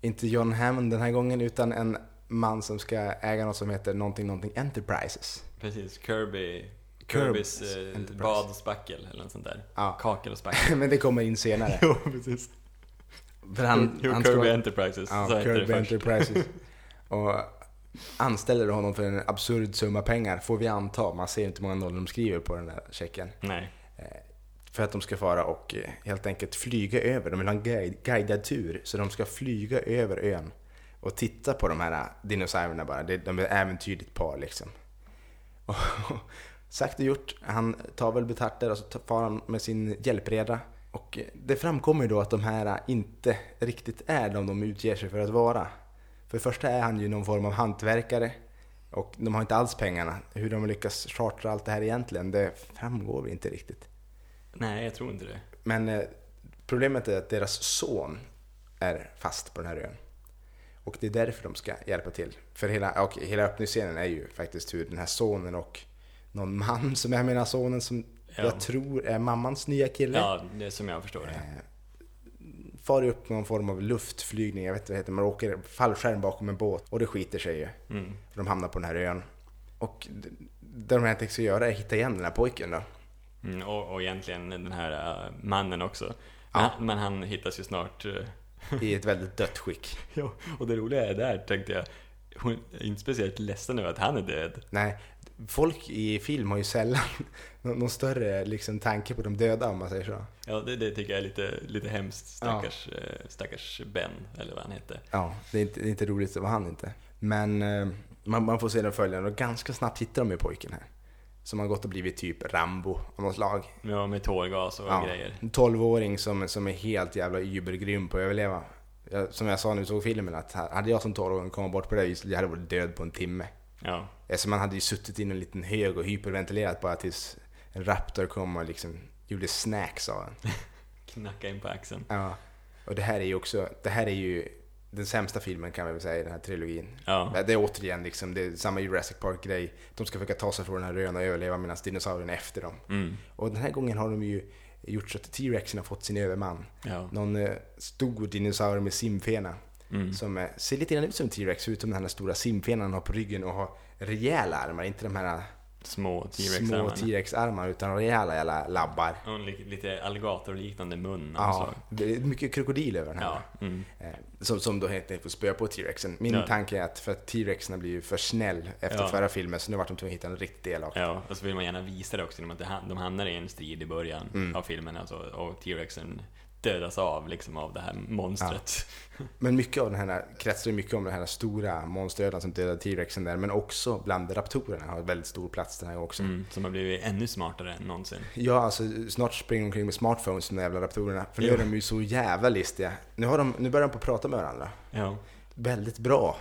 A: Inte John Hammond den här gången utan en man som ska äga något som heter någonting, någonting Enterprises.
B: Precis, Kirby.
A: Kirby's
B: Kirbys eh,
A: Enterprise.
B: bad och spackel eller något sånt där.
A: Ja.
B: Kakel och spackel.
A: Men det kommer in senare.
B: jo, precis.
A: För
B: Han, jo, Kirby
A: slår-
B: Enterprises. så
A: ja,
B: heter
A: Kirby
B: det först.
A: Enterprises. Och anställer honom för en absurd summa pengar, får vi anta. Man ser ju inte hur många nollor de skriver på den där checken.
B: Nej.
A: För att de ska fara och eh, helt enkelt flyga över. De vill ha en guide, guidad tur. Så de ska flyga över ön och titta på de här eh, dinosaurierna bara. Det- De är ett äventyrligt par liksom. Och, sagt och gjort. Han tar väl betraktar och så tar- far han med sin hjälpreda. Och eh, det framkommer ju då att de här eh, inte riktigt är de de utger sig för att vara. För det första är han ju någon form av hantverkare. Och de har inte alls pengarna. Hur de lyckas chartra allt det här egentligen, det framgår väl inte riktigt.
B: Nej, jag tror inte det.
A: Men eh, problemet är att deras son är fast på den här ön. Och det är därför de ska hjälpa till. För hela, och hela öppningsscenen är ju faktiskt hur den här sonen och någon man som är med den här sonen som
B: Ja.
A: jag tror är mammans nya kille.
B: Ja, det är som jag förstår det.
A: Eh, far upp någon form av luftflygning, jag vet inte vad det heter, man åker fallskärm bakom en båt och det skiter sig ju.
B: Mm.
A: För de hamnar på den här ön. Och det, det de egentligen ska göra är hitta igen den här pojken då.
B: Mm, och, och egentligen den här eh, mannen också. Men,
A: Ja.
B: han, men han hittas ju snart. eh,
A: I ett väldigt dött skick.
B: ja, och det roliga är där, tänkte jag, hon är inte speciellt ledsen över att han är död.
A: Nej, folk i film har ju sällan någon, någon större liksom, tanke på de döda om man säger så.
B: Ja, det, det tycker jag är lite, lite hemskt. Stackars, eh, stackars Ben, eller vad han hette.
A: Ja, det är inte, det är inte roligt, det var han inte. Men eh, man, man får se den följande och ganska snabbt hittar de ju pojken här. Som har gått och blivit typ Rambo av något slag.
B: Ja, med tårgas och
A: Ja,
B: grejer.
A: en 12-åring som, som är helt jävla übergrym på att överleva. Jag, som jag sa när vi såg filmen, att ha- hade jag som 12-åring kommit bort på det här viset, jag hade varit död på en timme.
B: Ja,
A: Eftersom man hade ju suttit i en liten hög och hyperventilerat bara tills en raptor kom och liksom gjorde snacks av en.
B: knacka in på axeln.
A: Ja, och det här är ju också, det här är ju, den sämsta filmen kan vi väl säga i den här trilogin.
B: Ja.
A: Det är återigen liksom, det är samma Jurassic Park-grej. De ska försöka ta sig från den här ön och överleva medan dinosaurierna är efter dem.
B: Mm.
A: Och den här gången har de ju gjort så att T-Rexen har fått sin överman.
B: Ja.
A: Någon eh, stor dinosaurie med simfena.
B: Mm.
A: Som eh, ser lite grann ut som en T-Rex, förutom den här stora simfenan han har på ryggen och har rejäla armar. Inte de här
B: Små
A: små
B: T-Rex-armarna.
A: T-Rex-armar, utan rejäla jävla labbar.
B: Och en li- lite alligatorliknande mun. och
A: Ja,
B: så.
A: det är mycket krokodil över den här.
B: ja. Mm.
A: Eh, Som, som då helt enkelt får spöa på T-Rexen. Min
B: Ja.
A: tanke är att för att T-Rexen blir ju för snäll efter
B: Ja.
A: förra filmen så nu vart de tvungna att hitta en riktigt elak.
B: Ja, och så vill man gärna visa det också, genom att det ham- de hamnar i en strid i början
A: Mm.
B: av filmen alltså, och T-Rexen dödas av liksom av det här monstret.
A: Men mycket av den här kretsar ju mycket om den här stora monsterödan som dödade T-Rexen där. Men också bland raptorerna har väldigt stor plats den här gången också.
B: Mm, som har blivit ännu smartare än någonsin.
A: Ja, alltså snart springer de omkring med smartphones de där jävla raptorerna. För nu
B: Ja.
A: är de ju så jävla listiga. Nu, har de, nu börjar de på att prata med varandra.
B: Ja.
A: Väldigt bra.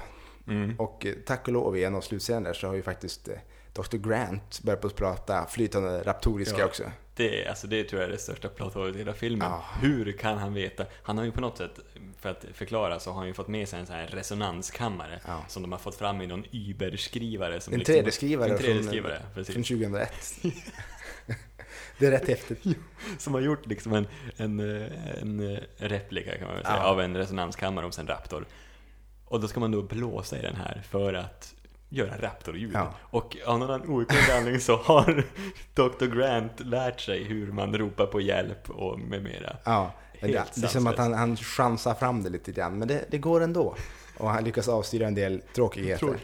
B: Mm.
A: Och eh, tack och lov i en av slutscenerna där så har ju faktiskt eh, Dr. Grant börjat på att prata flytande raptoriska
B: Ja.
A: också.
B: Det, är- alltså, det tror jag är det största platået i hela filmen.
A: Ja.
B: Hur kan han veta? Han har ju på något sätt, för att förklara, så har han ju fått med sig en sån här resonanskammare
A: Ja.
B: som de har fått fram i någon Uber-skrivare. som
A: En
B: liksom-
A: 3D-skrivare
B: En
A: från-
B: 3D-skrivare, precis.
A: Från 2001. det är rätt häftigt.
B: Som har gjort liksom en, en, eh, en eh, replika kan man väl säga,
A: Ja.
B: av en resonanskammare hos en raptor. Och då ska man då blåsa i den här för att göra raptorljud.
A: Ja.
B: Och av någon annan outgrundlig anledning så har Dr. Grant lärt sig hur man ropar på hjälp och med mera.
A: Ja, det,
B: Helt
A: det är som att han, han chansar fram det lite grann, men det, det går ändå. Och han lyckas avstyra en del tråkigheter.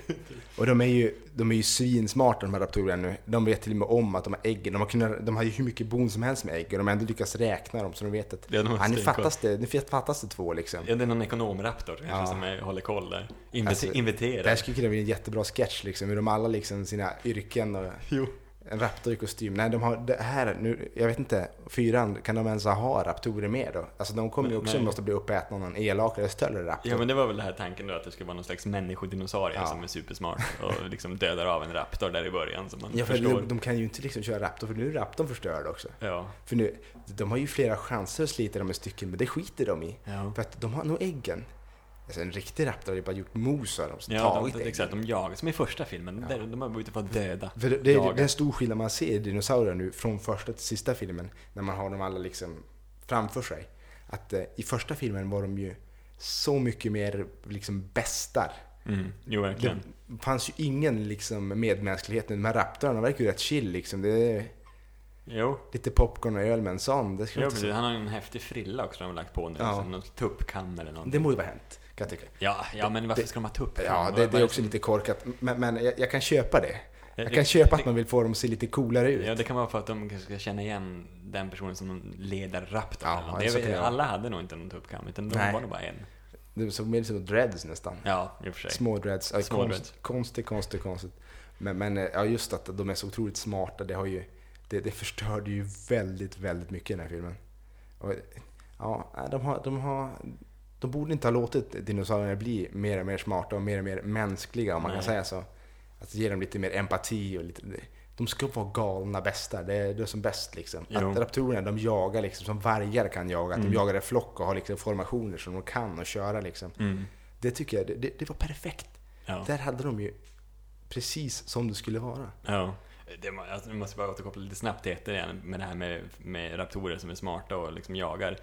A: Och de är ju, de är ju svinsmarta de här raptorerna nu. De vet till och med om att de har äggen. De har, kunnat, de har ju hur mycket bon som helst med ägg och de har ändå lyckats räkna dem så de vet att
B: Ja, de har
A: ja, nu,
B: stenkoll.
A: fattas det, nu fattas det två liksom.
B: Ja, det är någon ekonomraptor kanske
A: Ja.
B: som är, håller koll där. Invite-
A: Alltså, Det
B: inviterar.
A: här skulle kunna bli en jättebra sketch liksom, hur de alla liksom sina yrken och
B: Jo.
A: en raptor i kostym. Nej, de har det här nu, jag vet inte, fyran, kan de ens ha raptorer med då? Alltså de kommer ju
B: Men-
A: också
B: nej.
A: måste bli uppätna av någon elakare, större raptor.
B: Ja men det var väl den här tanken då att det skulle vara någon slags människodinosaurie
A: Ja.
B: som är supersmart och liksom dödar av en raptor där i början som man
A: Ja, för
B: förstår.
A: de, de kan ju inte liksom köra Raptor, för nu är Raptorn förstörd också.
B: Ja.
A: För nu, de har ju flera chanser att slita dem i stycken, men det skiter de i.
B: Ja.
A: För att de har nog äggen. Alltså en riktig Raptor har ju bara gjort mos av dem, så
B: Ja,
A: tagit
B: de,
A: äggen.
B: exakt. De jagar, som i första filmen.
A: Ja.
B: Där, de har varit ute för att döda.
A: För det, det, är,
B: Jagar.
A: det är en stor skillnad man ser i dinosaurier nu, från första till sista filmen, när man har dem alla liksom framför sig. Att eh, i första filmen var de ju så mycket mer liksom bästar.
B: Mm. Jo,
A: Det
B: verkligen.
A: fanns ju ingen liksom medmänsklighet nu. De här raptorerna verkar ju rätt chill liksom. Det är
B: Jo.
A: lite popcorn och öl med en sån. Det skulle
B: Jo,
A: inte
B: precis. Han har en häftig frilla också de har lagt på nu.
A: Ja.
B: Som någon tuppkam eller
A: Det
B: någonting.
A: borde vara hänt, kan jag tycka.
B: Ja, ja, men varför
A: det-
B: ska de ha tuppkam?
A: Ja,
B: Vad-
A: det,
B: vad
A: det är också
B: som-
A: lite korkat, men, men jag, jag kan köpa det.
B: Ja,
A: Jag
B: det-
A: kan köpa
B: det-
A: att man vill få dem att se lite coolare ut.
B: Ja, det kan vara för att de kanske ska känna igen den personen som de leder raptorn.
A: Ja,
B: eller något.
A: så
B: det,
A: kan det vara.
B: alla hade nog inte någon tuppkam, utan de
A: Nej.
B: var nog bara en.
A: Det såg mer ut som dreads nästan.
B: Ja, i och för sig.
A: Små dreads. Ja,
B: Små
A: konst,
B: dreads.
A: Konstigt, konstigt, konstigt. Men, men eh, ja, just att de är så otroligt smarta, det har ju... Det, det förstörde ju väldigt, väldigt mycket i den här filmen. Och, ja, nej, de har... De har de borde inte ha låtit dinosaurierna bli mer och mer smarta och mer och mer mänskliga om man kan
B: Nej.
A: säga så. Att ge dem lite mer empati och lite... De ska vara galna bästar, det är, det är som bäst liksom.
B: Jo.
A: Att raptorerna de jagar liksom som vargar kan jaga, att
B: Mm.
A: de jagar i flock och har liksom formationer som de kan och köra liksom.
B: Mm.
A: Det tycker jag, det, det, det var perfekt.
B: Ja.
A: Där hade de ju precis som det skulle vara.
B: Ja. Det, må- alltså, nu måste jag bara återkoppla lite snabbt till ett igen med det här med, med raptorer som är smarta och liksom jagar.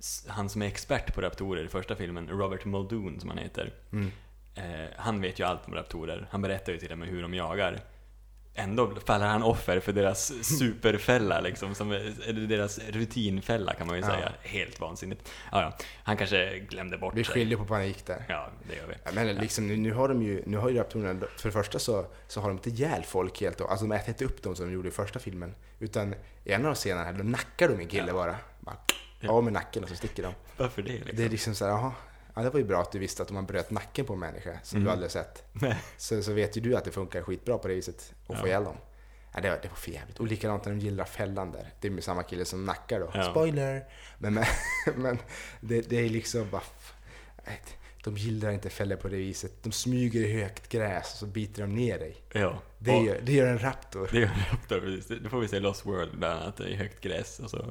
B: S- Han som är expert på raptorer i första filmen, Robert Muldoon som han heter,
A: Mm.
B: eh, han vet ju allt om raptorer. Han berättar ju till och med hur de jagar. Ändå faller han offer för deras superfälla, liksom, som, är- eller deras rutinfälla kan man ju
A: Ja.
B: säga. Helt vansinnigt. Ja, ja. Han kanske glömde bort
A: Vi
B: sig.
A: skiljer på panik där.
B: Ja, det gör vi.
A: Jag menar, liksom, nu, nu har de ju, nu har ju raptorerna, för det första så, så har de inte ihjäl folk helt och, alltså de äter inte upp dem som de gjorde i första filmen. Utan i en av scenerna här, då nackar de en kille
B: Ja.
A: bara. bara av med nacken och så sticker de.
B: Varför det? Liksom?
A: Det är liksom så här, jaha. Ja, det var ju bra att du visste att om man bröt nacken på en människa som
B: Mm.
A: du aldrig sett,
B: Nej.
A: så, så vet ju du att det funkar skitbra på det viset att
B: Ja.
A: få ihjäl dem. Ja, det, var, det var för jävligt. Och likadant när de gillrar fällan där. Det är med samma kille som nackar då.
B: Ja.
A: Spoiler! Men, men, men det, det är liksom bara... f- De gillar inte fällor på det viset. De smyger i högt gräs och så biter de ner dig.
B: Ja.
A: Det,
B: Och-
A: gör, det gör en raptor.
B: Det gör en raptor, precis. Det får vi se i Lost World bland annat, i högt gräs och så,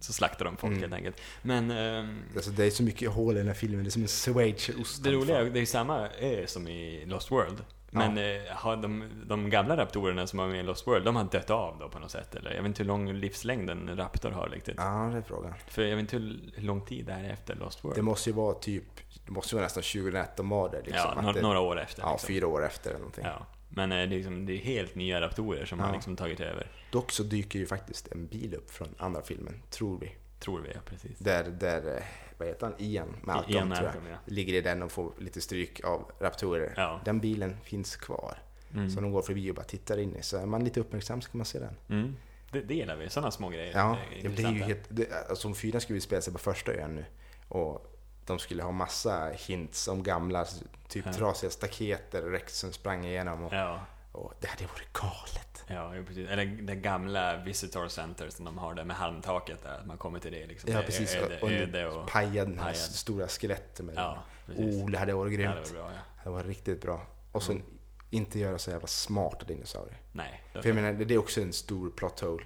B: så slaktar de folk
A: Mm.
B: helt enkelt. Men ehm,
A: Alltså, det är så mycket hål i den här filmen. Det är som en schweizerost.
B: det roliga, är- det är ju samma ö som i Lost World. Men eh, har de, de gamla raptorerna som var med i Lost World, de har dött av då på något sätt? Eller? Jag vet inte hur lång livslängd en raptor har riktigt.
A: Ja, det är frågan.
B: För jag vet inte hur hur lång tid det här är efter Lost World.
A: Det måste ju vara typ, det måste ju vara nästan 2001 de var där. Liksom,
B: ja,
A: Att
B: no-
A: det,
B: några år efter.
A: ja,
B: liksom.
A: fyra år efter eller någonting.
B: ja. Men eh, det är, liksom, det är helt nya raptorer som har
A: Ja.
B: liksom tagit över,
A: Dock så dyker ju faktiskt en bil upp från andra filmen, tror vi.
B: tror vi. Ja, precis.
A: Där, där eh, vad heter han, Ian Malcolm
B: Ian
A: tror jag.
B: Malcolm, ja.
A: Ligger i den och får lite stryk av raptorer.
B: Ja.
A: Den bilen finns kvar.
B: Mm.
A: Så de går förbi och bara tittar in i. Så är man lite uppmärksam så kan man se den.
B: Mm. Det, det gillar vi, sådana små grejer.
A: Ja,
B: är
A: det är ju
B: intressanta.
A: helt... Det, alltså om fyran skulle spela sig på första ön nu och de skulle ha massa hints om gamla, typ
B: Ja.
A: trasiga staketer Rex som sprang igenom och,
B: Ja,
A: och det hade varit galet.
B: ja jo, precis. Eller det gamla visitor center som de har där med halmtaket där, att man kommer till det liksom.
A: Ja,
B: Det är
A: precis.
B: Öde,
A: och
B: öde och...
A: paja den här
B: pajad.
A: stora skeletten med
B: Ja, precis.
A: Oh, det hade varit
B: Ja,
A: grymt.
B: det var bra, ja.
A: Det var riktigt bra. Och
B: Mm.
A: sen inte göra så jävla smarta dinosaurier.
B: Nej.
A: För jag menar, det är också en stor plot hole.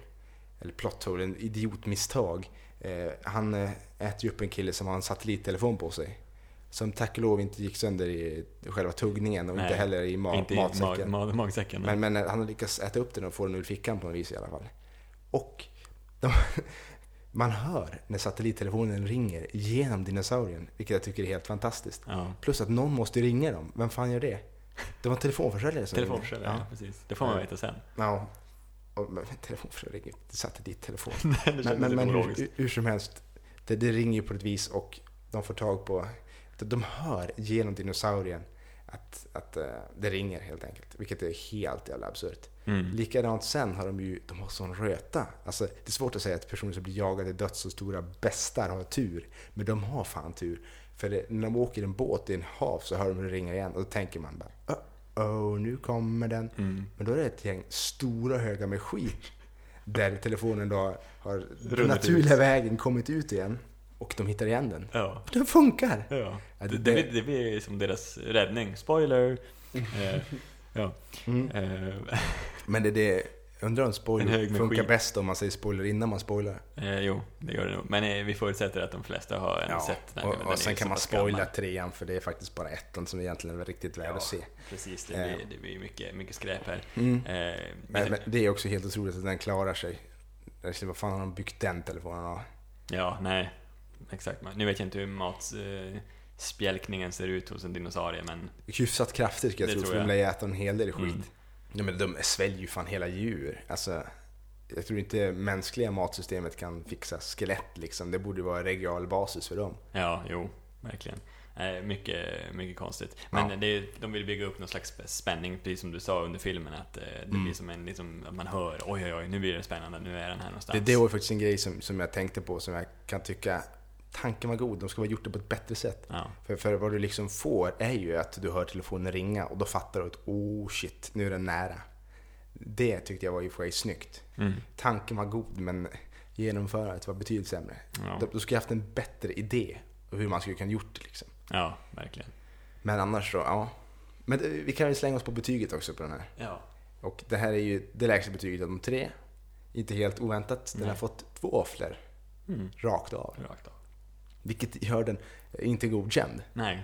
A: Eller plot hole, en idiotmisstag. Eh, han eh, äter ju upp en kille som har en satellittelefon på sig. Som tack och lov inte gick sönder i själva tuggningen och
B: Nej,
A: inte heller i ma-
B: inte i
A: matsäcken.
B: ma- ma- magsäcken.
A: men, men eh, han har lyckats äta upp den och få den ur fickan på något vis i alla fall. Och de, man hör när satellittelefonen ringer genom dinosaurien, vilket jag tycker är helt fantastiskt.
B: ja.
A: Plus att någon måste ju ringa dem. Vem fan gör det? Det var en telefonförsäljare som
B: Telefonförsäljare, ja.
A: ringde.
B: precis. Det får man
A: Ja.
B: veta sen.
A: Ja. ja. Och, men, telefonförsäljare ringer. Det satte dit telefon.
B: det kändes
A: men men, men
B: lite
A: hur,
B: ologiskt.
A: hur, hur som helst. Det, det ringer ju på ett vis och de får tag på... De, de hör genom dinosaurien att, att eh, det ringer helt enkelt. Vilket är helt jävla absurt.
B: Mm.
A: Likadant sen har de ju... De har sån röta. Alltså, det är svårt att säga att personer som blir jagade till döds så stora bästar har tur. Men de har fan tur. För det, när de åker i en båt i en hav så hör de hur det ringer igen. Och då tänker man bara... Oh, oh nu kommer den.
B: Mm.
A: Men då är det ett gäng stora högar med skit. Där telefonen då har den
B: ut.
A: naturliga vägen kommit ut igen. Och de hittar igen den.
B: Ja.
A: Den funkar!
B: Ja.
A: Ja,
B: Det,
A: det-
B: det, blir, det blir som deras räddning. Spoiler! Eh, ja.
A: Mm.
B: Eh,
A: Men det är det, undrar om
B: En hög
A: spoiler
B: med
A: funkar
B: skit.
A: bäst om man säger spoiler innan man spoilar.
B: Eh, jo, det gör det nog. Men eh, vi förutsätter att de flesta har ändå sett den här
A: och,
B: filmen. Den
A: och
B: är
A: sen
B: ju
A: kan
B: så
A: man
B: pass gammal.
A: spoila trean för det är faktiskt bara ettan som egentligen är riktigt värd att se.
B: Precis, det
A: Eh.
B: blir, det blir mycket, mycket skräp här.
A: Mm.
B: Eh,
A: Men, men det är också helt otroligt att den klarar sig. Jag skulle, Vad fan har de byggt den telefonen av?
B: Ja, nej. Exakt. Men Nu vet jag inte hur matspjälkningen ser ut hos en dinosaurie, men
A: Hyfsat kraftigt ska jag
B: Det
A: tro,
B: tror
A: för de
B: jag.
A: lär ju äta en hel del skit.
B: Mm.
A: Nej, men de sväljer ju fan hela djur. Alltså, jag tror inte mänskliga matsystemet kan fixa skelett liksom. Det borde vara regal basis för dem.
B: ja, jo, verkligen. Eh, mycket, mycket konstigt. Men
A: Ja.
B: det är, de vill bygga upp någon slags spänning, precis som du sa under filmen, att eh, det
A: Mm.
B: blir som en, liksom, att man hör oj, oj, oj, nu blir det spännande, nu är den
A: Det,
B: här någonstans.
A: det var ju faktiskt en grej som, som jag tänkte på som jag kan tycka, tanken var god, de skulle ha gjort det på ett bättre sätt.
B: Ja,
A: För, för vad du liksom får är ju att du hör telefonen ringa och då fattar du att oh shit, nu är den nära. Det tyckte jag var i och för sig snyggt.
B: mm.
A: Tanken var god men genomförandet var betydligt sämre.
B: ja.
A: Då, då skulle jag haft en bättre idé om hur man skulle kunna gjort det liksom.
B: ja verkligen.
A: Men annars så, ja. Men det, vi kan ju slänga oss på betyget också på den här.
B: Ja.
A: Och det här är ju det lägsta betyget av de tre. Inte helt oväntat. Den
B: Nej.
A: har fått två våfflor
B: Mm.
A: rakt av.
B: Rakt av.
A: Vilket gör den inte godkänd.
B: Nej,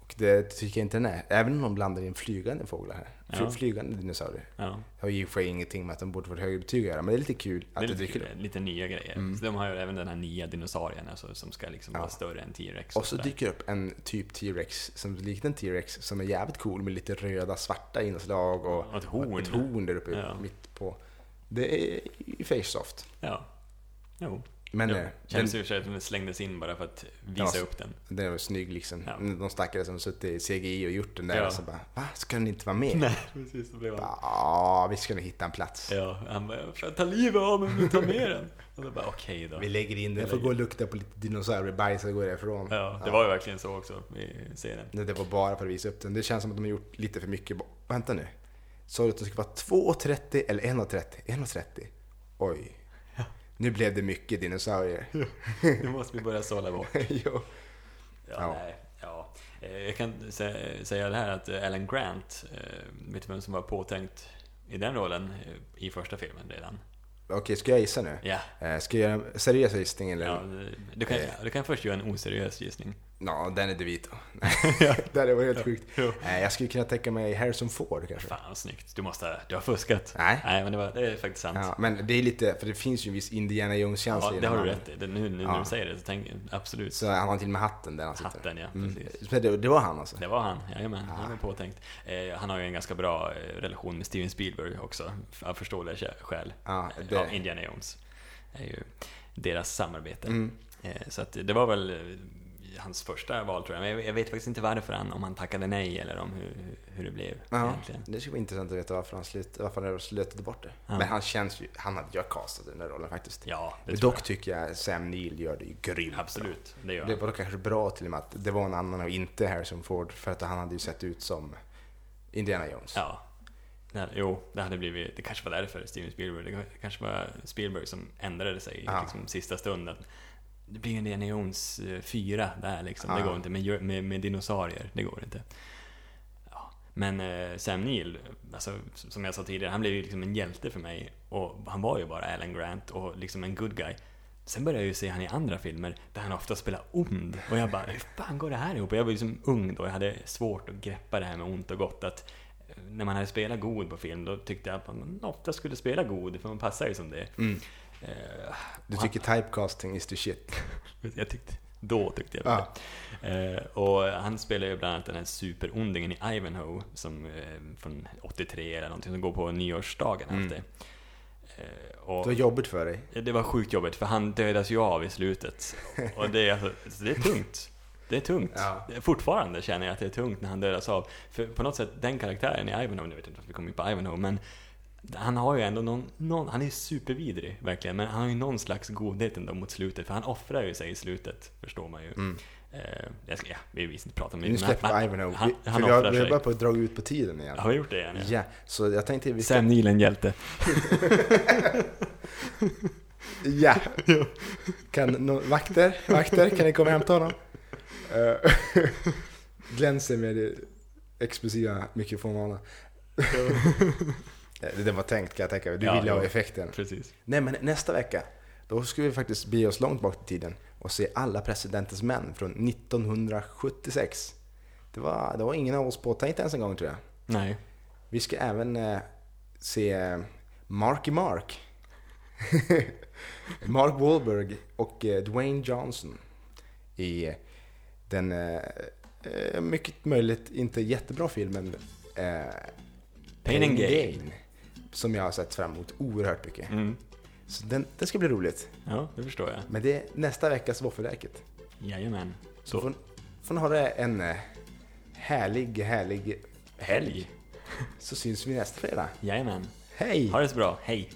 A: Och det tycker jag inte den är. Även om de blandar in flygande fåglar här. Fly-
B: Ja.
A: Flygande dinosaurier.
B: ja.
A: Det har ju i och för sig ingenting med att de borde fått högre betyg att göra. Men det är lite kul att
B: det
A: det
B: är lite,
A: dyker upp. Mm.
B: kul, lite nya grejer. Så de har ju även den här nya dinosaurien alltså, som ska liksom
A: Ja.
B: vara större än T-Rex.
A: Och så
B: sådär.
A: dyker upp en typ T-Rex som liknar en T-Rex som är jävligt cool med lite röda svarta inslag och
B: Och ett horn.
A: ett horn där uppe
B: Ja.
A: mitt på. Det är ju Faceoft.
B: Ja. Jo.
A: Men
B: jo.
A: eh, den,
B: Känns ju i och för sig att den slängdes in bara för att
A: Ja,
B: visa
A: så-
B: upp den.
A: den var snygg liksom.
B: Ja.
A: De stackare som suttit i CGI och gjort den där
B: Ja.
A: och så bara Va? Ska den inte vara med?
B: Nej, precis. Så blev han.
A: Ja, vi ska nog hitta en plats.
B: Ja, han bara, "Fan, ta livet av mig, men ta med den. Och då bara, okej
A: Vi
B: då.
A: lägger in den. Jag får gå och lukta på lite dinosauriebajs och gå därifrån.
B: Ja, det var ju verkligen så också i serien.
A: Nej, Det var bara för att visa upp den. Det känns som att de har gjort lite för mycket. ba- Vänta nu. Sa du att det skulle vara 2,30 eller 1,30? 1,30? Oj. Nu blev det mycket dinosaurier.
B: Nu måste vi börja sålla bort.
A: jo.
B: Ja,
A: Ja.
B: Nej, ja. Eh, Jag kan sä- säga det här att eh, Alan Grant, eh, vet du vem som var påtänkt i den rollen eh, i första filmen redan?
A: Okej, ska jag gissa nu?
B: Ja,
A: Eh, Ska jag göra en seriös gissning eller?
B: ja
A: Ja.
B: du, kan,
A: Eh.
B: du kan först göra en oseriös gissning.
A: den är DeVito. det hade varit helt sjukt.
B: Jo.
A: Eh, Jag skulle kunna tänka mig Harrison Ford kanske.
B: Fan vad snyggt, du måste ha, du har fuskat.
A: Nej.
B: Nej men det, var, det är faktiskt sant.
A: Ja, men det är lite, för det finns ju en viss Indiana Jones-chans
B: Ja,
A: i den
B: det har du
A: mannen.
B: rätt i. Det, nu nu när
A: Ja.
B: du säger det så tänk, absolut.
A: Så han har till och med hatten där han sitter. Mm.
B: Hatten ja, precis.
A: Så Det, det var han alltså?
B: Det var han, jajamän. Han var påtänkt. Eh, han har ju en ganska bra eh, relation med Steven Spielberg också, av förståeliga kä- skäl.
A: Ja,
B: Eh,
A: det-
B: Av Indiana Jones. är ju deras samarbete.
A: Mm.
B: Eh, så att det var väl eh, hans första val tror jag. Men jag, jag vet faktiskt inte varför han, om han tackade nej eller om hur, hur det blev
A: Ja,
B: egentligen.
A: det skulle vara intressant att veta varför han, slut, varför han slutade bort det.
B: Ja.
A: Men han känns ju, han hade ju castat den där rollen faktiskt.
B: Ja, det
A: Men
B: tror
A: Dock tycker jag Sam Neill gör det ju grymt
B: jag. Absolut, det gör
A: bra.
B: han.
A: Det var kanske bra till och med att det var en annan och inte Harrison Ford för att han hade ju sett ut som Indiana Jones.
B: Ja. Det hade, jo, det hade blivit... Det kanske var därför Steven Spielberg. Det kanske var Spielberg som ändrade sig i
A: Ja.
B: liksom, sista stunden. Det blir ju en Jones 4 där liksom. Det
A: Ja.
B: går inte med, djur- med, med dinosaurier. Det går inte. Ja. Men eh, Sam Neill, alltså, s- som jag sa tidigare, han blev ju liksom en hjälte för mig. Och han var ju bara Alan Grant och liksom en good guy. Sen började jag ju se han i andra filmer där han ofta spelar ond. Och jag bara, hur fan går det här ihop? Och Jag var ju liksom ung då, jag hade svårt att greppa det här med ont och gott. Att eh, när man hade spelat god på film, då tyckte jag att man ofta skulle spela god, för man passar ju som det. Eh,
A: Mm. Du tycker typecasting is the shit.
B: jag tyckte, då tyckte jag väl
A: Ja.
B: det. Eh, och han spelar ju bland annat den här superondingen i Ivanhoe som, eh, från 83 eller någonting som går på nyårsdagen
A: Mm.
B: alltid. Eh, och-
A: Det var jobbigt för dig.
B: det var sjukt jobbigt för han dödas ju av i slutet. Och det är, alltså, så det är tungt. Det är tungt.
A: Ja.
B: Fortfarande känner jag att det är tungt när han dödas av. För på något sätt, den karaktären i Ivanhoe, nu vet jag inte varför vi kommer in på Ivanhoe, men han har ju ändå någon, någon, han är supervidrig verkligen, men han har ju någon slags godhet ändå mot slutet, för han offrar ju sig i slutet, förstår man ju. Eh, jag ska, ja, vi vill inte prata om det.
A: Mm. Nu
B: men
A: släpper
B: han-
A: vi Ivanhoe.
B: Han,
A: Vi-
B: han
A: För vi har,
B: offrar
A: vi har
B: sig.
A: börjat på att dra ut på tiden igen.
B: Har vi gjort det igen?
A: Ja, så jag tänkte vi ska...
B: Sam Neill en hjälte.
A: Ja. Kan nå- vakter, vakter, kan ni komma och hämta honom? Eh, Glänser med det explosiva mikrofonarna. Eh, Det var tänkt kan jag tänka mig. Du
B: Ja,
A: ville ha
B: jo.
A: effekten.
B: Precis.
A: Nej, men nästa vecka, då ska vi faktiskt bege oss långt bak i tiden och se alla presidentens män från 1976. Det var, det var ingen av oss påtänkt ens en gång tror jag.
B: Nej.
A: Vi ska även eh, se eh, Marky Mark. Mark Wahlberg och eh, Dwayne Johnson i eh, den eh, eh, mycket möjligt inte jättebra filmen eh,
B: Pain and Gain.
A: Som jag har sett fram emot oerhört mycket.
B: Mm.
A: Så den, det ska bli roligt.
B: Ja, det förstår jag.
A: Men det är nästa veckas våffelräket.
B: Jajamän.
A: Så får, får ni ha det en eh, härlig, härlig helg. Så syns vi nästa fredag.
B: Jajamän.
A: Hej!
B: Ha det så bra. Hej.